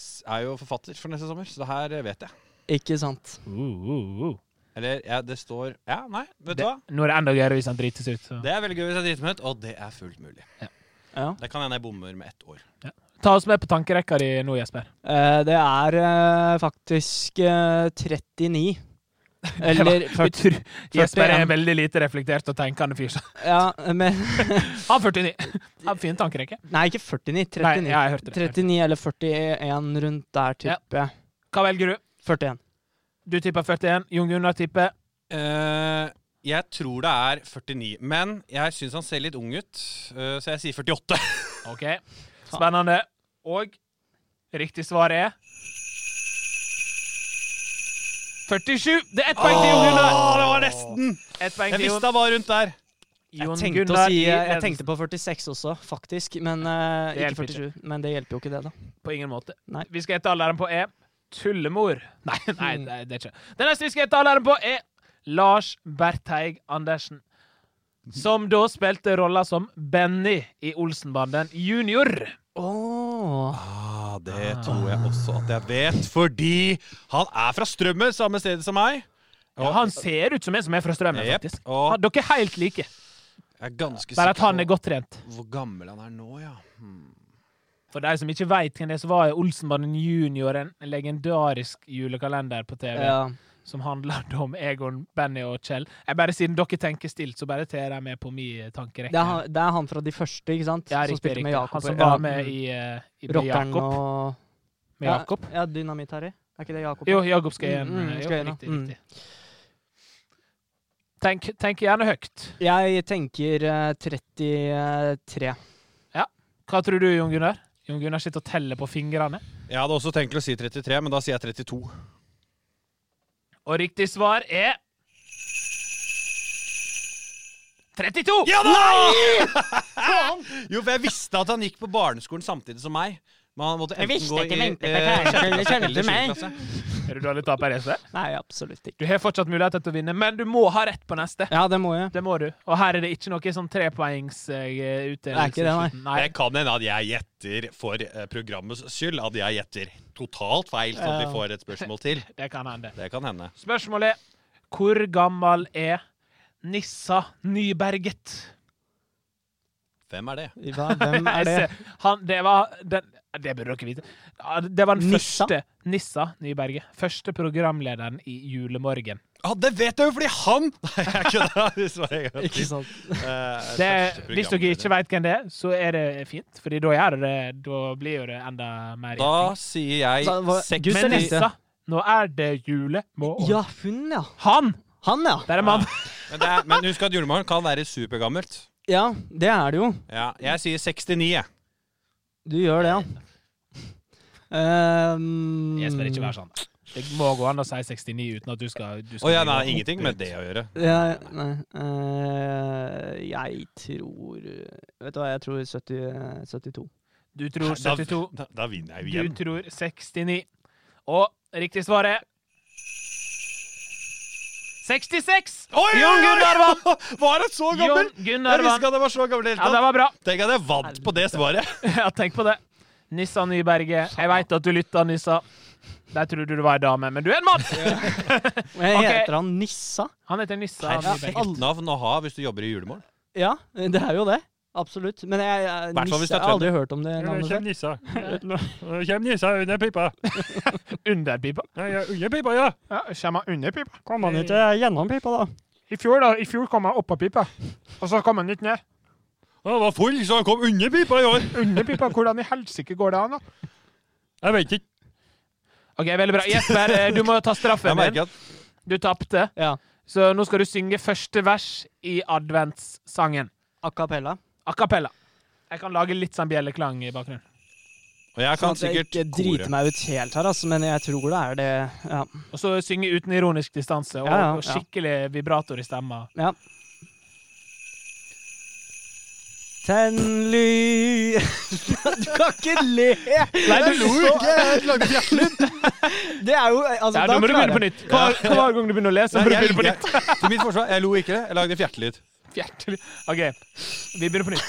s- er jo forfatter for neste sommer, så det her vet jeg. Ikke sant. Uh, Eller ja, det står Ja, nei, vet du det, hva? Nå er det enda gøyere hvis han drites ut. Så. Det er veldig gøy hvis jeg driter meg ut, og det er fullt mulig. Ja. Det kan hende jeg bommer med ett år. Ta oss med på tankerekka di nå, Jesper. *laughs* Eh, det er eh, faktisk eh, 39. Eller Jeg 40, tror Jesper er 41. en veldig lite reflektert og tenkende fyr. så eh, ja, men, *laughs* Han er 49. Han har fin tankerekke. Nei, ikke 49. 39. Nei, ja, jeg hørte det. 39 eller 41 rundt der, tipper jeg. Hva velger du? 41. Du tipper 41. Jon Gunnar tipper Eh, jeg tror det er 49, men jeg syns han ser litt ung ut, eh, så jeg sier *laughs* 48. OK. Spennende. Og riktig svar er 47. Det er ett poeng til Jon Gunnar. det var nesten! Ett poeng Jeg til visste Jon. han var rundt der. Jeg Jon tenkte, å Gunnar si, i jeg ledelsen. tenkte på 46 også, faktisk. Men eh, Det ikke hjelper 47. Men det hjelper jo ikke det, da. På ingen måte. Nei. Mm. Vi skal gjette alderen på er tullemor. *laughs* Nei, nei, det er det er ikke. Det neste vi skal gjette alderen på, er Lars Bertheig Andersen. Som da spilte rolla som Benny i Olsenbanden junior. Åh. Ah, det tror jeg også at jeg vet, fordi han er fra Strømmen, samme sted som meg. Ja, han ser ut som en som er fra Strømmen, Jep, faktisk. og- Han- Dere er helt like, Jeg er ganske bare at han er sikker på godt trent. hvor gammel han er nå, ja. For de som ikke veit hvem det er som var i Olsenbanden junior, en legendarisk julekalender på TV. Ja. som handler om Egon, Benny og Kjell. Jeg bare Siden dere tenker stilt, så bare tar jeg med på min tankerekke. Det, er han, det er han fra de første, ikke sant? Ja, som riktig, spilte med riktig. Jakob. Han som Ja, var med mm. i, eh, i med Rockeren Jakob. og Med Ja, Jakob. Ja, Dynamitt Harry. Er ikke det Jakob? Jo, Jakob skal igjen. Mm, mm, jo, skal igjen, ja. riktig, Mm. riktig. Tenk, tenk gjerne høyt. Jeg tenker eh, 33. Hva tror du, Jon Gunnar? Jon Gunnar sitter og teller på fingrene. Jeg hadde også tenkt å si 33, men da sier jeg 32. Og riktig svar er 32! Ja da! *laughs* jo, for jeg visste at han gikk på barneskolen samtidig som meg. Men han måtte Jeg enten visste gå ikke i Vente på eh, Kjæreste, sjette klasse kjente eller meg. sjuende klasse. Er du dårlig taper, Jesper? Nei, absolutt ikke. Du har fortsatt mulighet til å vinne, men du må ha rett på neste. Ja, det må *laughs* jeg. Det må du. Og her er det ikke noe sånn trepoengs eh, utdelelse. Det er ikke det, nei. i slutten. nei. Det kan hende at jeg gjetter for eh, programmets skyld at jeg gjetter totalt feil, sånn at vi får et spørsmål til. Det kan hende. Det kan hende. Spørsmålet er hvor gammel er Nissa Nyberget? Hvem er det? Hva, hvem er det? Jeg ser- Han, det var den Det burde dere vite. Ja, Det var den Nissa? første Nissa Nyberget. Første programlederen i Julemorgen. Ja, det vet jeg jo, fordi han *laughs* Nei, jeg kødda. *laughs* Det svarer jeg godt. Ikke sant? Det, Eh, hvis første dere ikke programleder. vet hvem det er, så er det fint, Fordi da gjør det Da blir jo det enda mer Da sier jeg Da var- 60. Gud, Men ser Nissa, nå er det julemorgen. Ja, hun, ja. Han! Han, ja. Ah. Det er en mann. Men, det er, men husk at julemorgen kan være supergammelt. Ja, det er det jo. Ja, jeg sier 69, jeg. Du gjør det, ja. Um, Jesper, ikke vær sånn. Det må gå an å si 69 uten at du skal, du Å skal ja, bli nei, opp- ingenting med det å gjøre. Ja, nei. eh, jeg tror Vet du hva, jeg tror 70, 72. Du tror 72, Da, da vinner jeg jo du igjen. tror 69. Og riktig svar er 66! Oi, Jon Gunnar vant! Var han så gammel? Jon Gunnar Jeg visste vant. ikke at jeg var så gammel i det Ja, det hele tatt. var bra. Tenk at jeg vant på det svaret. *laughs* Ja, tenk på det. Nissa Nyberget. Jeg veit at du lytta, Nissa. Der tror du du var ei dame, men du er en mann! Og jeg Ok. heter han Nissa? Han heter Nissa Nyberget. Perfekt navn å ha hvis du jobber i julemorgen. Ja, det er jo det. Absolutt. Men jeg, jeg, Hvertfall hvis Nissa, det er jeg har aldri hørt om det navnet før. nissa. Kjem nisa under pipa. Under pipa. Nei, ja, under pipa, ja. Ja, kommer han under pipa? Kom han ikke gjennom pipa, da? I fjor, da. I fjor kom han oppå pipa. Og så kom han litt ned. Han var full, så han kom under pipa i år. Under pipa, hvordan i helsike går det an, da? Jeg vet ikke. Ok, Veldig bra. Jesper, eh, du må ta Jeg straffen din. merker at Du tapte. Ja. Så nå skal du synge første vers i adventssangen. A cappella. A cappella. Jeg kan lage litt sånn bjelleklang i bakgrunnen. Og jeg Sånn kan at jeg sikkert ikke driter kore. meg ut helt her, altså, men jeg tror det er det. Ja. Og så synge uten ironisk distanse og, Ja, ja, og skikkelig vibrator i stemma. ja. Tenn ly... *laughs* Du kan ikke le! Nei, du lo jo ikke! *laughs* Det er jo altså, Ja, da nå må du klarer begynne på jeg- nytt. Hver, hver gang du begynner å lese, må du begynne på nytt. til mitt forsvar, jeg lo ikke det. Jeg lagde fjertelyd. Fjertelig. OK, vi begynner på nytt.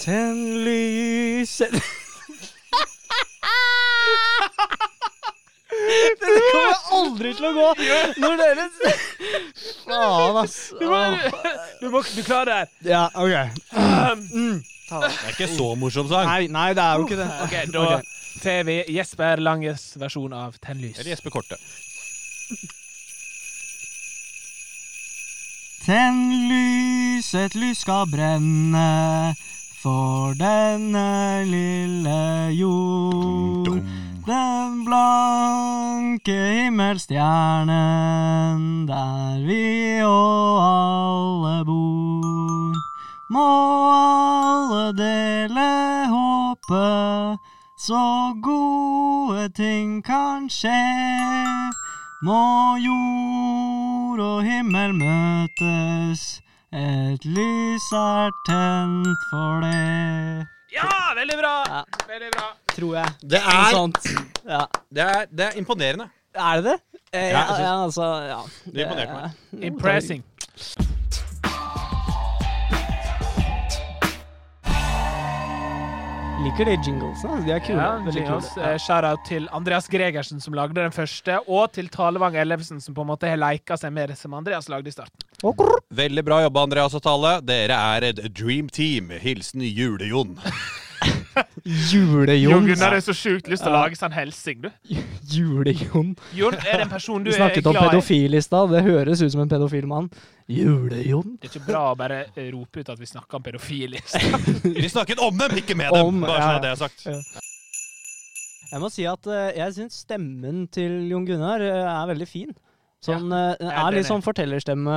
Tenn *laughs* lyset Dette kommer aldri til å gå når dere Faen, ass. Du, må, du, må, du klarer det her. Ja, OK. Det er ikke så morsom sang. Nei, nei, det er jo ikke det. OK, da Ok. får vi Jesper Langes versjon av Tennlys. Eller Jesper Korte. Tenn lys, et lys skal brenne for denne lille jord. Den blanke himmelstjernen der vi og alle bor. Må alle dele håpet, så gode ting kan skje. Må jord og himmel møtes, et lys er tent for det. Ja, veldig bra! Ja. Veldig bra. tror jeg. Det Noe er, sånt. Ja. det er, det er imponerende. Er det det? Eh, Ja, jeg synes- ja, altså, ja. Du imponerte meg. Impressing. Liker de jinglesene. De er kule. Ja, veldig kule. Jingles. Eh, Shout-out til Andreas Gregersen, som lagde den første, og til Talevang Ellefsen, som på en måte har leika seg med det som Andreas lagde i starten. Veldig bra jobba, Andreas og Tale. Dere er et dream team. Hilsen Jule-Jon. Jule-Jon. har så sjukt lyst til å lage sånn helsing, du. *laughs* Jule-Jon. Jon, er det en person du Vi er snakket om glad i? pedofil i stad. Det høres ut som en pedofil mann. Jule-Jon. Det er ikke bra å bare eh, rope ut at vi snakker om pedofil. Vi snakket om dem, ikke med Om, dem. Bare ja. sånn at det er sagt. Jeg må si at eh, jeg syns stemmen til Jon Gunnar eh, er veldig fin. Sånn, eh, jeg den er er litt enig. sånn fortellerstemme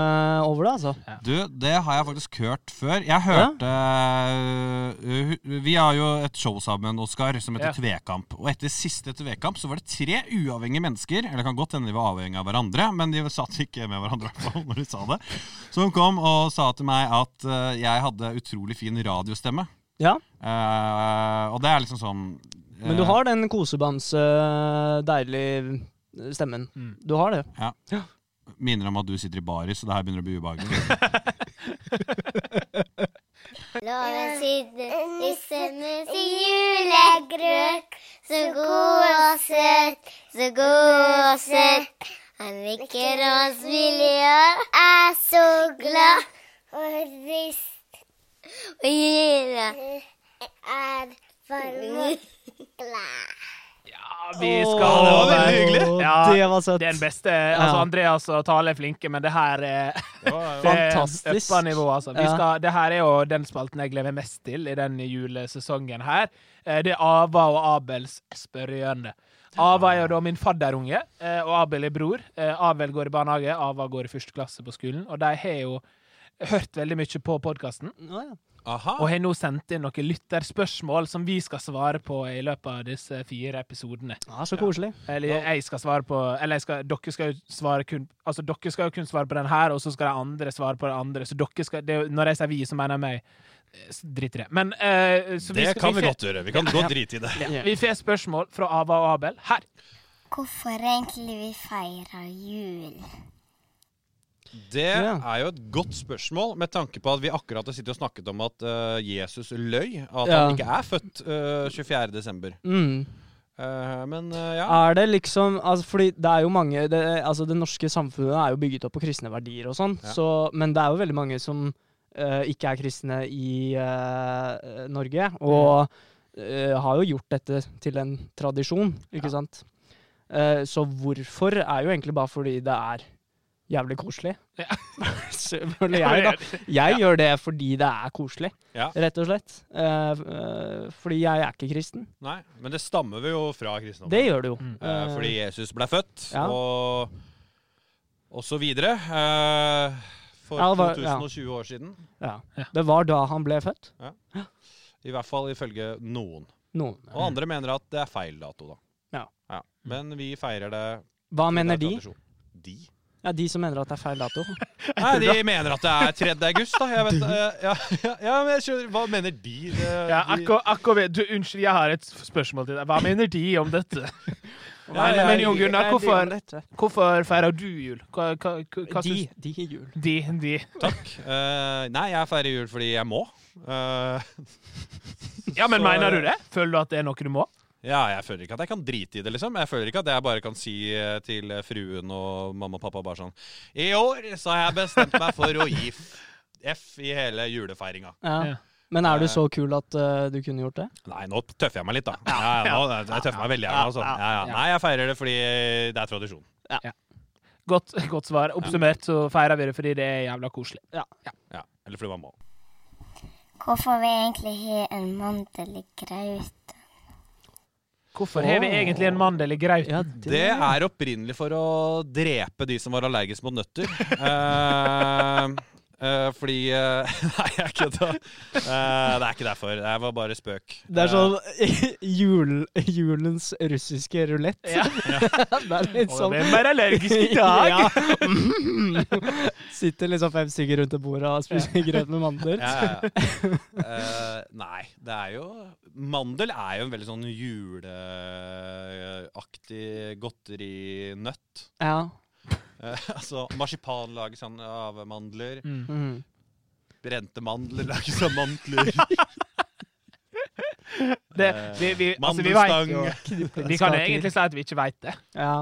over det, altså. Du, det har jeg faktisk hørt før. Jeg hørte uh, hu- Vi har jo et show sammen, Oskar, som heter Ja. Tvekamp. Og etter siste Tvekamp så var det tre uavhengige mennesker Eller det kan godt hende de var avhengige av hverandre, men de satt ikke med hverandre i hvert fall når de sa det. Som kom og sa til meg at eh, jeg hadde utrolig fin radiostemme. Ja, Eh, og det er liksom sånn eh, Men du har den kosebamse, deilig stemmen. Du har Mm. det. Minner om at du sitter i baris, og det her begynner å bli ubehagelig. Loven sydde nissenes julegrøt. Så god og søt, så god og søt. Han nikker og smiler og er så glad. Og rist og Mm. gira. Er varm *laughs* Ja, vi skal over. Ja, det var søtt. Det er den beste. Altså, Ja. Andreas og Tale er flinke, men det her er Fantastisk. Uppa nivå, altså. Vi Ja. skal, det her er jo den spalten jeg gleder meg mest til i den julesesongen her. Eh, Det er Ava og Abels spørrehjørne. Ava er jo da min fadderunge, eh, og Abel er bror. Eh, Abel går i barnehage, Ava går i første klasse på skolen, og de har jo hørt veldig mye på podkasten. Å, ja. Aha. Og har nå sendt inn noen lytterspørsmål som vi skal svare på i løpet av disse fire episodene. Ja, så koselig. Eller jeg skal svare på Eller jeg skal, dere skal jo svare kun Altså dere skal jo kun svare på den her, og så skal de andre svare på den andre. Så dere skal det, er jo- Når jeg sier vi, så mener jeg meg. Eh, s- Drit i det. Men eh, så Det skal- kan vi får- godt gjøre. Vi kan godt drite i det. Ja. Vi får spørsmål fra Ava og Abel her. Hvorfor egentlig vi feirer jul? Det Ja. er jo et godt spørsmål, med tanke på at vi akkurat har sittet og snakket om at eh, Jesus løy. At Ja. han ikke er født eh, 24. desember. Mm. Eh, men eh, ja. Er det liksom altså, Fordi det er jo mange det, altså, det norske samfunnet er jo bygget opp på kristne verdier og sånn, Ja. så- men det er jo veldig mange som eh, ikke er kristne i eh, eh, Norge, og eh, har jo gjort dette til en tradisjon, ikke sant? Eh, så hvorfor er jo egentlig bare fordi det er jævlig koselig. Ja. *laughs* Selvfølgelig jeg, da. Jeg gjør det fordi det er koselig, Ja. rett og slett. Eh, f- eh, fordi jeg er ikke kristen. Nei, men det stammer vi jo fra kristendommen. Det gjør det jo. Eh, fordi Jesus ble født, Ja. og, og så videre. eh, for Ja, det var- ja. 2020 år siden. Ja. Det var da han ble født. I hvert fall ifølge noen. Noen. Og andre mener at det er feil dato, da. Ja. Men vi feirer det. Hva mener det er de? tradisjon. De? Ja, De som mener at det er feil dato. Nei, de mener at det er 3. august, da. Jeg vet, eh, ja, ja, ja, men jeg skjønner Hva mener de? Eh, Ja, de- akko, akko, du, unnskyld, jeg har et spørsmål til deg. Hva mener de om dette? Nei, men- men jeg- Jon Gunnar, Nei, de hvorfor- gjør dette. Hvorfor feirer du jul? Hva, hva, hva, hva De, syns- de i jul. de, de. Takk. Eh, nei, jeg feirer jul fordi jeg må. Eh, Ja, men Så- mener du det? Føler du at det er noe du må? ja, jeg føler ikke at jeg kan drite i det, liksom. Jeg føler ikke at jeg bare kan si eh, til fruen og mamma og pappa bare sånn I år så har jeg bestemt meg for å gi f- F i hele julefeiringa. Ja. Ja. Men er du så kul at eh, du kunne gjort det? Nei, nå tøffer jeg meg litt, da. Ja, ja, nå, jeg tøffer meg veldig gjerne. Altså. Ja, ja. Nei, jeg feirer det fordi det er tradisjon. Godt, godt svar. Oppsummert så feirer vi det fordi det er jævla koselig. Ja, Eller fordi man må. Hvorfor vi egentlig har en mandel i graut? Hvorfor har vi egentlig en mandel i grauten? Ja, Det er opprinnelig for å drepe de som var allergiske mot nøtter. Eh, eh, fordi eh, *laughs* Nei, jeg kødda. Eh, det er ikke derfor. Det var bare spøk. Det er sånn *laughs* jul, julens russiske rulett. *laughs* Ja. det er litt Og sånn hvem er allergisk *laughs* i dag? Ja. *laughs* Sitter liksom fem stykker rundt det bordet og spiser grøt med mandler. Eh, Ja, ja, ja. Eh, nei, det er jo Mandel er jo en veldig sånn juleaktig godterinøtt. Ja. Uh, altså marsipan lages sånn av mandler. Mm. Mm. Brente mandler lages av mandler. *laughs* Det, vi, vi, altså, vi vet Eh, Mandelstang. jo Vi kan jo egentlig si at vi ikke veit det. ja.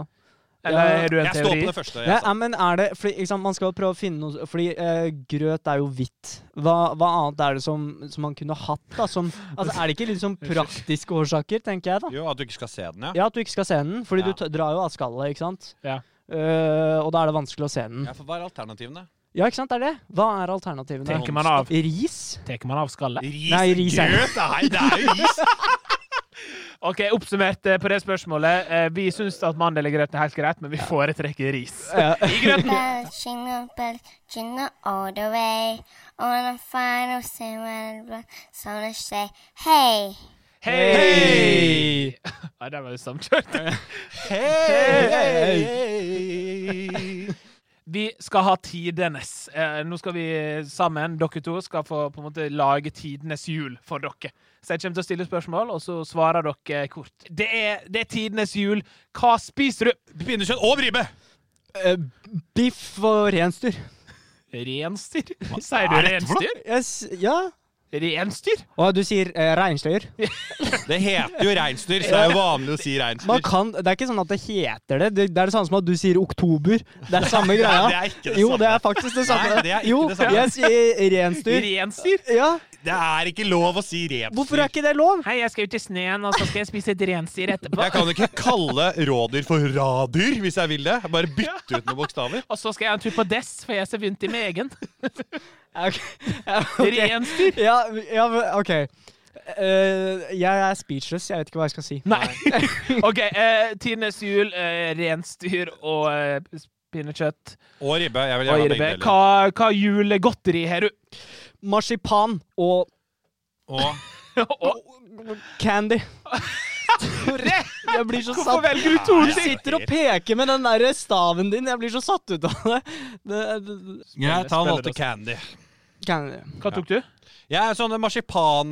Eller Ja. er du en Jeg står teori? på det første. Ja, Jeg ja, sa. men er det fordi, ikke sant, Man skal prøve å finne noe Fordi eh, grøt er jo hvitt. Hva, hva annet er det som, som man kunne hatt? da? Som, altså, er det ikke litt sånn praktiske årsaker, tenker jeg, da? Jo, at du ikke skal se den, ja. Ja, at du ikke skal se den, Ja. fordi du t drar jo av skallet, ikke sant? Ja. Eh, og da er det vanskelig å se den. ja. For hva er alternativene? Ja, ikke sant, det er det? Hva er alternativene? Tenker man av, Ris? tenker man av skallet? Ris? Nei, ris er- Grøt? Nei, det er jo ris! OK, oppsummert eh, på det spørsmålet. eh, Vi syns at mandel i grøt er helt greit, men vi foretrekker ris. Eh, I grøten. Bell, jingle bell, jingle all the way. On a final summer, summer say, hey. Hei! Nei, den var jo samkjørt. *laughs* eh, Vi skal ha tidenes. Eh, nå skal vi sammen, dere to, skal få på en måte lage tidenes jul for dere. Så jeg kommer til å stille spørsmål, og så svarer dere kort. Det er, det er tidenes jul. Hva spiser du? Pinnekjøtt og bribe! Eh, biff og reinsdyr. Reinsdyr? Sier du er dette for noe? reinsdyr? Jeg s- ja. Reinsdyr? Og du sier eh, reinsdyr. Det heter jo reinsdyr, så det er jo vanlig å si reinsdyr. Man kan, det er ikke sånn at det heter det. Det, det er det samme som at du sier oktober. Det er samme Nei, greia. det er ikke det jo, samme. det er faktisk det samme. Nei, det er ikke jo, det samme. jeg sier reinsdyr. Reinsdyr? Ja, Det er ikke lov å si reinsdyr. hvorfor er ikke det lov? Hei, jeg skal ut i snøen, og så skal jeg spise et reinsdyr etterpå. Jeg kan jo ikke kalle rådyr for radyr hvis jeg vil det. Jeg bare bytte ut noen bokstaver. Og så skal jeg ha en tur på dess, for jeg ser vondt i *laughs* megen. Ja, ok. Ja, ok. Reinsdyr? *laughs* Ja, ja, men, OK. Eh, jeg er speechless. Jeg vet ikke hva jeg skal si. Nei. *laughs* OK. Eh, tidenes jul, eh, reinsdyr og eh, pinnekjøtt. Og ribbe. Jeg vil Og gjerne ha irbe. begge deler. Hva, hva julegodteri *laughs* har du? Marsipan og Og Og- candy. Tore! Jeg blir så Hvorfor satt velger du Tore Du sin? sitter og peker med den der staven din. Jeg blir så satt ut av det. det, det, det. greit, han Spiller valgte det candy. Candy. Hva tok du? Jeg er sånne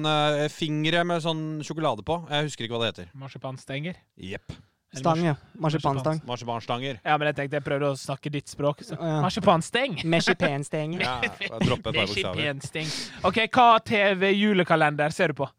marsipanfingre med sånn sjokolade på. Jeg husker ikke hva det heter. Marsipanstenger? Jepp. Stang, ja. Marsipanstang. Marsipanstanger. Ja, men jeg tenkte jeg prøvde å snakke ditt språk. Så. Ja. Marsipansteng. Marsipanstang. *laughs* Ja, jeg dropper et Det par er ikke bokstaver. pensteng. OK, hva TV-julekalender ser du på?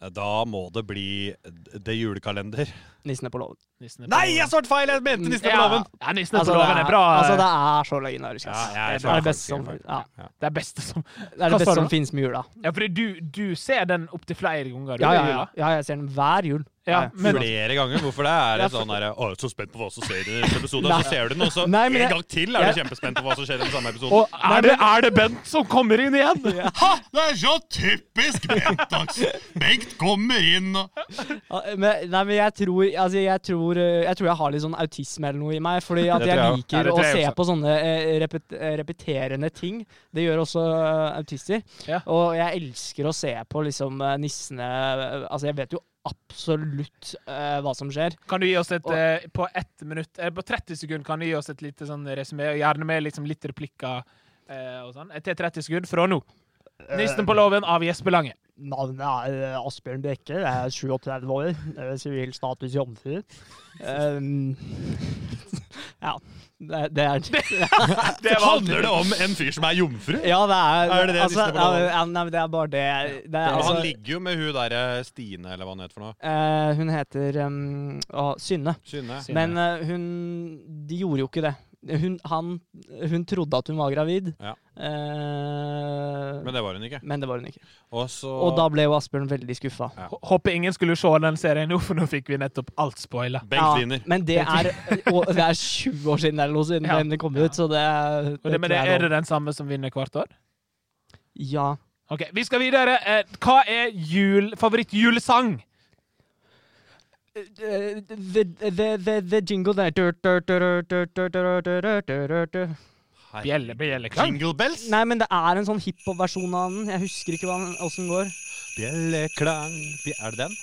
Da må det bli det julekalender. Nissene på låven. Nissene på Nei, låven. jeg svarte feil! Jeg mente nissene på Ja. låven. Ja, nissene på låven er bra. eh. altså, det er så legendarisk. Ja, jeg ass. det er svarte det beste som, feil. ja. det er beste som det, er Hva det sa beste du som nå? finnes med jula. Ja, fordi du, du ser den opptil flere ganger. du, Ja, i ja, ja. jula. ja, jeg ser den hver jul. Ja, Ja. men, Flere ganger. Hvorfor det? Er det Ja, for- sånn her Å, jeg er så spent på hva som skjer i neste episode. Nei. og Så ser du den, og så Nei, men en jeg- gang til er du kjempespent på hva som skjer i den samme episoden. og er det, er det Bent som kommer inn igjen? Ha! Det er så typisk Bentax. Bengt kommer inn og Ja, Men, nei, men jeg tror, altså, jeg tror eh, Jeg tror jeg har litt sånn autisme eller noe i meg. Fordi at Det jeg tror jeg Ja, liker det tror å jeg se også. på sånne eh, repet, eh, repeterende ting. Det gjør også eh, autister. Ja. Og jeg elsker å se på liksom eh, nissene eh, Altså, jeg vet jo absolutt eh, hva som skjer. Kan du gi oss et Og- eh, På ett minutt eh, På 30 sekunder kan du gi oss et lite sånn resumé, og gjerne med liksom litt replikker eh, og sånn. Eh, Til 30 sekunder fra nå. Eh, Nissen på låven av Jesper Lange. Navnet er eh, Asbjørn Brekke. Jeg er 37 år. eh, Sivil status *laughs* jomfru. Um, *laughs* ja. Det, det er *laughs* Det var alt. Handler det om en fyr som er jomfru? Ja, det er Er det det altså, siste på låven? ja, Nei, men det er bare det. det er, Og altså, han ligger jo med hun derre Stine, eller hva hun heter for noe. eh, hun heter um, å, Synne. Synne. Synne. Men eh, hun De gjorde jo ikke det Hun, han, hun trodde at hun var gravid, Ja. eh, men, Men det var hun ikke. det var hun ikke. Og så Og da ble jo Asbjørn veldig skuffa. Ja. H- Håper ingen skulle se den serien nå, for nå fikk vi nettopp alt spoila. Bengt Liner. men det er, og det er 20 år siden eller noe siden Ja. den kom ut, så det, er- Og det, men tror det, jeg er lov. det den samme som vinner hvert år? Ja. Ok, Vi skal videre. Eh, Hva er jul, favorittjulesang? Eh, The, the, the, the eh, jingle der Bjelle, bjelleklang. Jingle bells? Nei, men det er en sånn hiphop-versjon av den. Jeg husker ikke hva den- åssen den går. Bjelleklang Bje- Er det den?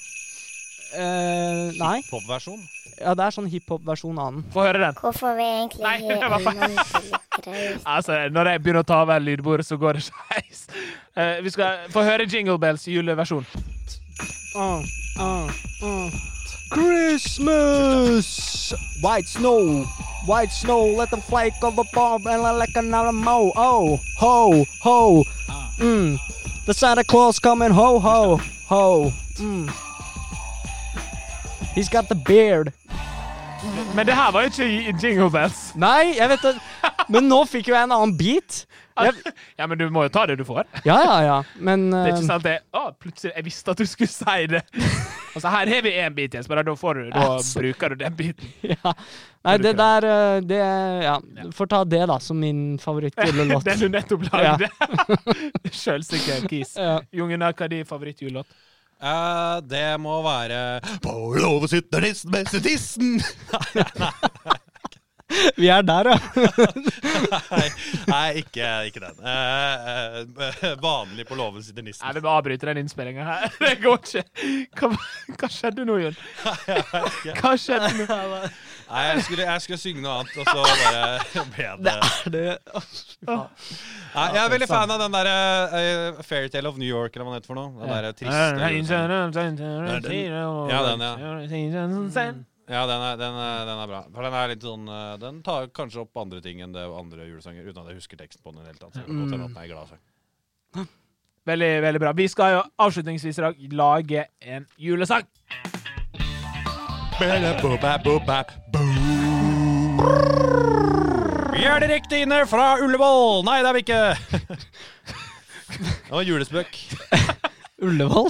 Eh, nei. Popversjon? Ja, det er sånn hiphop-versjon av den. Få høre den. Hvorfor vi egentlig Nei, det var hører noen som liker det. Altså, Når jeg begynner å ta over lydbordet, så går det *laughs* skeis. Eh, vi skal få høre Jingle Bells juleversjon. Ah, Uh, uh, uh. Christmas! White snow, white snow, let them flake of the bomb and let like another mo. Oh, ho, ho. Mm. The Santa Claus coming, ho, ho, ho. Mm. He's got the beard. Men det her var jo ikke i- i Jingle Bells. Nei, jeg vet det. Men nå fikk jo jeg en annen beat. Jeg, *laughs* Ja, men du må jo ta det du får. ja, ja, ja. Men Det er eh, ikke sant det. Å, plutselig, jeg visste at du skulle si *laughs* det. Altså, her har vi én bit, Jesper. Da, får du, da Altså. bruker du den biten. *laughs* ja. Nei, det Bruker der eh, Det Ja. Får ta det, da, som min *laughs* favorittgullelåt. Den du nettopp lagde. *laughs* Sjølsikker kis. Ja. Jungena, hva er din favorittjulelåt? Eh, det må være På låve sitter nissen med sin tissen. Vi er der, ja. Nei, nei ikke, ikke den. Eh, eh, vanlig på låven sitter Nei, nissen. Vi må avbryte den innspillinga her. *laughs* Det går ikke. Hva, hva skjedde nå, *laughs* Jon? Hva skjedde nå? Nei, jeg skulle, jeg skulle synge noe annet, og så bare ble det Nei, Jeg er veldig fan av den derre eh, Fairytale of New York, eller hva det sånn. heter for noe. Den derre triste Ja, den, Ja, den er, den, er, den er bra. For den er litt sånn eh, Den tar kanskje opp andre ting enn det andre julesanger, uten at jeg husker teksten på den i det hele tatt. Så det kan godt hende at den er glad sang. Veldig, veldig bra. Vi skal jo avslutningsvis i dag lage en julesang. Vi er direkte inne fra Ullevål! Nei, det er vi ikke! Det var julespøk. Ullevål?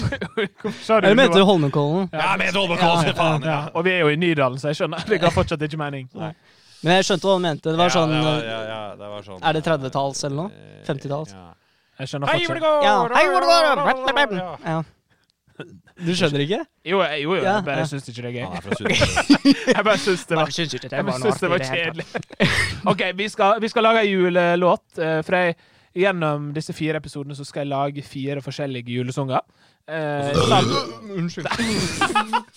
Sa du Eller mente du det var- Holmenkollen? Ja, med Dolbekås, faen! Ja. Ja, og vi er jo i Nydalen, så jeg skjønner. *laughs* Det ga fortsatt ikke mening. Men jeg skjønte hva du mente. Det var sånn eh, ja, ja, ja, det var sånn Er det 30-talls eller noe? 50-talls? Ja. Jeg skjønner Hei, fortsatt. Julegård! Ja. Hei, hvor det går! Ja. Ja. Du skjønner ikke? Jo, jeg- jo, jo, Ja, jeg bare ja. syns ikke det er Han gøy. er fra Sunnmøre. *laughs* Jeg bare syns det var skjønner ikke Jeg bare syns det var kjedelig. *laughs* OK, vi skal, vi skal lage ei julelåt. eh, For jeg, gjennom disse fire episodene så skal jeg lage fire forskjellige julesanger. Eh, sammen- Unnskyld. *laughs*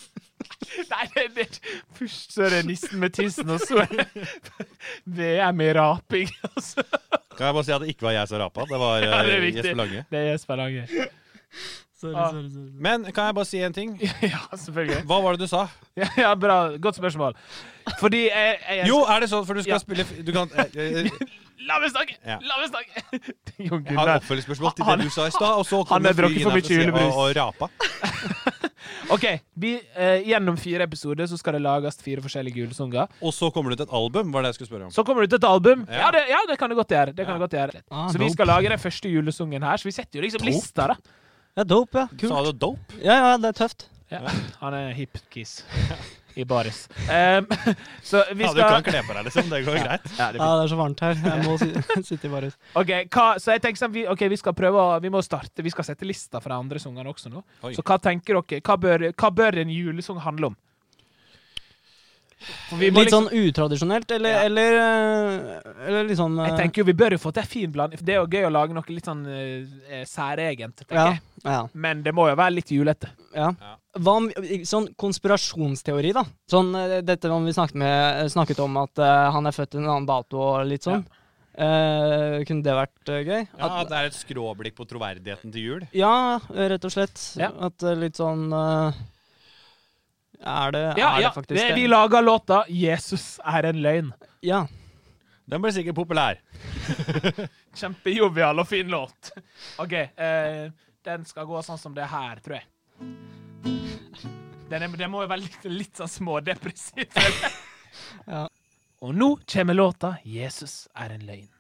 Nei, det, det, først så er det nissen med tissen, og så er det *laughs* VM i raping. *laughs* Altså. Kan jeg bare si at det ikke var jeg som rapa? Det var Ja, det er eh, viktig. Jesper Lange. Det er Jesper Lange. Men kan jeg bare si en ting? *laughs* Ja, selvfølgelig. Hva var det du sa? Ja, *laughs* ja, bra. Godt spørsmål. Fordi jeg, jeg Jo, er det sånn, for du skal Ja. spille Du kan eh, eh, La meg snakke! Ja. La meg snakke! *laughs* Jon Jeg har Gunnar. et oppfølgingsspørsmål til Han- det du sa i stad, og så han kommer har drukket Flyg for inn her mye sier- julebrus. og, og rapa. OK. Vi, eh, gjennom fire episoder så skal det lages fire forskjellige julesanger. Og så kommer det ut et album, var det jeg skulle spørre om. Så kommer det ut et album. Ja. Ja, det, ja, det kan det godt gjøre. Det kan det godt gjøre. Ah, så vi skal lage den første julesungen her, så vi setter jo liksom lista, da. Ja, dope, ja. Sa Kult. du dope? Ja, ja, det er tøft. Han er hip *laughs* kiss i baris. Em, *laughs* så vi Ja, skal du kan kle på deg, liksom. Det går greit. Ja, det Ja, det er så varmt her. Jeg må si- sitte i varehus. Ok, hva, så jeg tenker sånn, vi, ok, vi skal prøve å, vi må starte, vi skal sette lista for de andre sangene også nå. Oi. Så hva tenker dere, hva bør, hva bør en julesang handle om? For vi må Litt sånn liksom, utradisjonelt, eller, Ja. eller, eh, eller liksom eh, jeg tenker jo vi bør jo få til en fin blanding, for det er jo gøy å lage noe litt sånn eh, eh, særegent, tenker ja, jeg. ja, Men det må jo være litt julete. ja. Hva om sånn konspirasjonsteori, da? Sånn eh, dette om vi snakket, med, snakket om at eh, han er født en annen dato og litt sånn. Eh, kunne det vært eh, gøy? Ja, at det er et skråblikk på troverdigheten til jul. Ja, rett og slett. Ja. At det er litt sånn eh, Er det, Ja, er ja, det faktisk det, det? vi lager låta 'Jesus er en løgn'. Ja. Den blir sikkert populær. Kjempejovial og fin låt. OK, eh, den skal gå sånn som det her, tror jeg. Den, er, den må jo være litt, litt sånn smådepressiv. Ja. Og nå kommer låta 'Jesus er en løgn'.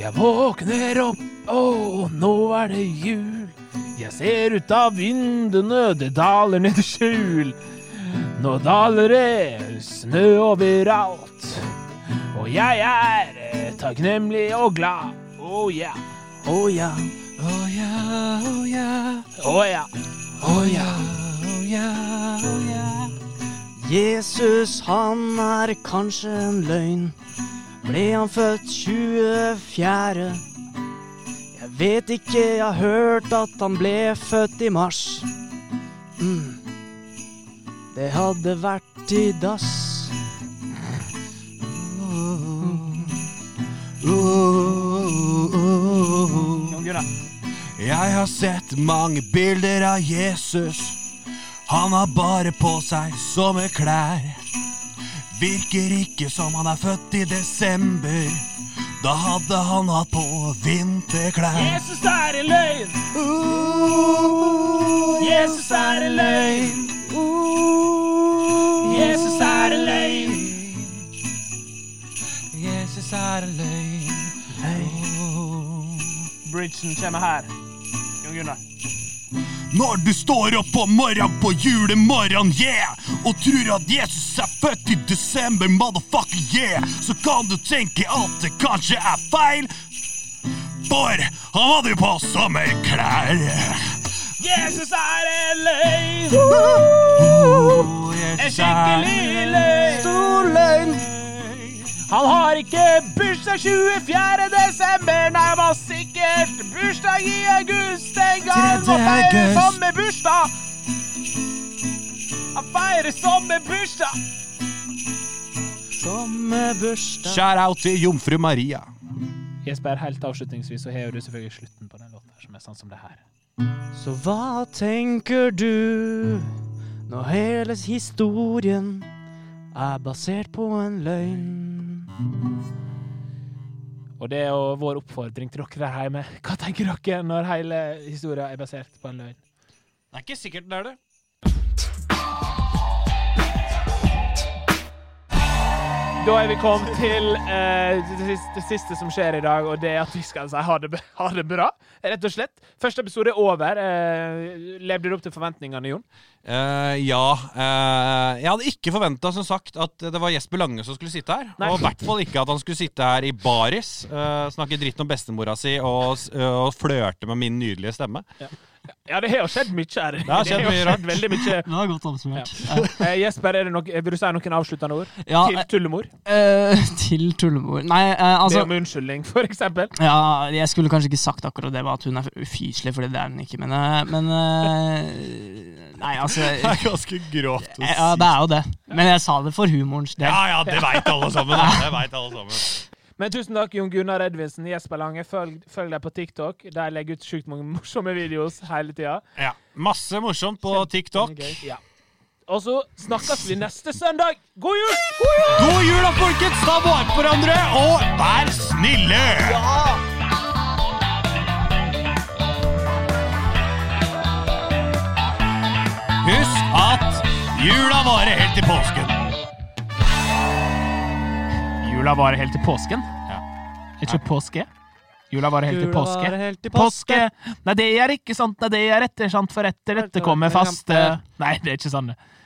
Jeg våkner opp, å, nå er det jul. Jeg ser ut av vinduene, det daler ned i skjul. Nå daler det snø overalt. Og jeg er takknemlig og glad. Å ja, å ja. Å ja, å ja. Å ja, å ja. Å ja, å ja. Jesus, han er kanskje en løgn. Ble han født 24.? Jeg vet ikke, jeg har hørt at han ble født i mars. Mm. Det hadde vært i dass. Jeg har sett mange bilder av Jesus. Han har bare på seg somme klær. Virker ikke som han er født i desember. Da hadde han hatt på vinterklær. Jesus er en løgn. Jesus er en løgn. Jesus er en løgn. Jesus er en løgn. Bridgen kommer her. Jon Gunnar. Når du står opp om morgenen på julemorgen, yeah, og tror at Jesus er født i desember, motherfucker, yeah, så kan du tenke at det kanskje er feil, for han hadde jo på sommerklær. Jesus er en løgn. En skikkelig løgn. Stor løgn! Han har ikke bursdag 24. desember, nei, han var sikkert bursdag i august en gang. Tredje Og feirer august. sommerbursdag. Han feirer sommerbursdag. Sommerbursdag Shout-out til jomfru Maria. Jesper, helt avslutningsvis så har du selvfølgelig slutten på den låten her, som er sånn som det her. Så hva tenker du når hele historien er basert på en løgn? Og det er jo vår oppfordring til dere der hjemme. Hva tenker dere når hele historien er basert på en løgn? Det er ikke sikkert det er det. Da er vi kommet til eh, det, siste, det siste som skjer i dag, og det er at vi skal si ha det, b- ha det bra. Rett og slett. Første episode er over. Eh, levde du opp til forventningene, Jon? Eh, ja. eh, jeg hadde ikke forventa som sagt at det var Jesper Lange som skulle sitte her. Nei. Og i hvert fall ikke at han skulle sitte her i baris, eh, snakke dritt om bestemora si og, s- eh, og flørte med min nydelige stemme. Ja, det har jo skjedd mye her. Det har skjedd jo mye skjedd veldig mye. Det var godt oppsummert. Eh, Jesper, er det nok, vil du si noen avsluttende ord? Ja, til tullemor? eh, til tullemor Nei, eh, Be altså om unnskyldning, for eksempel. ja, Jeg skulle kanskje ikke sagt akkurat det, bare at hun er ufyselig, fordi det er hun ikke, men, eh, men eh, Nei, altså Det er ganske grovt å Ja, det er jo det. Men jeg sa det for humorens del. Ja, ja, det veit alle sammen. da. Det vet alle sammen. Men tusen takk, Jon Gunnar Edvinsen, Jesper Lange. Følg, følg dem på TikTok. De legger ut sjukt mange *laughs* morsomme videoer hele tida. Ja. Masse morsomt på TikTok. Ja. Og så snakkes vi neste søndag. God jul! God jul! God jul, da, folkens! Ta vare på hverandre, og vær snille! Husk at jula varer helt til påsken. Jula varer helt til påsken. Ja. Ikke påske. Jula varer helt til Jula påske. varer helt til Påske! Nei, det er ikke sant. Nei, det er etter, sant, for etter dette kommer faste Nei, det er ikke sant. det.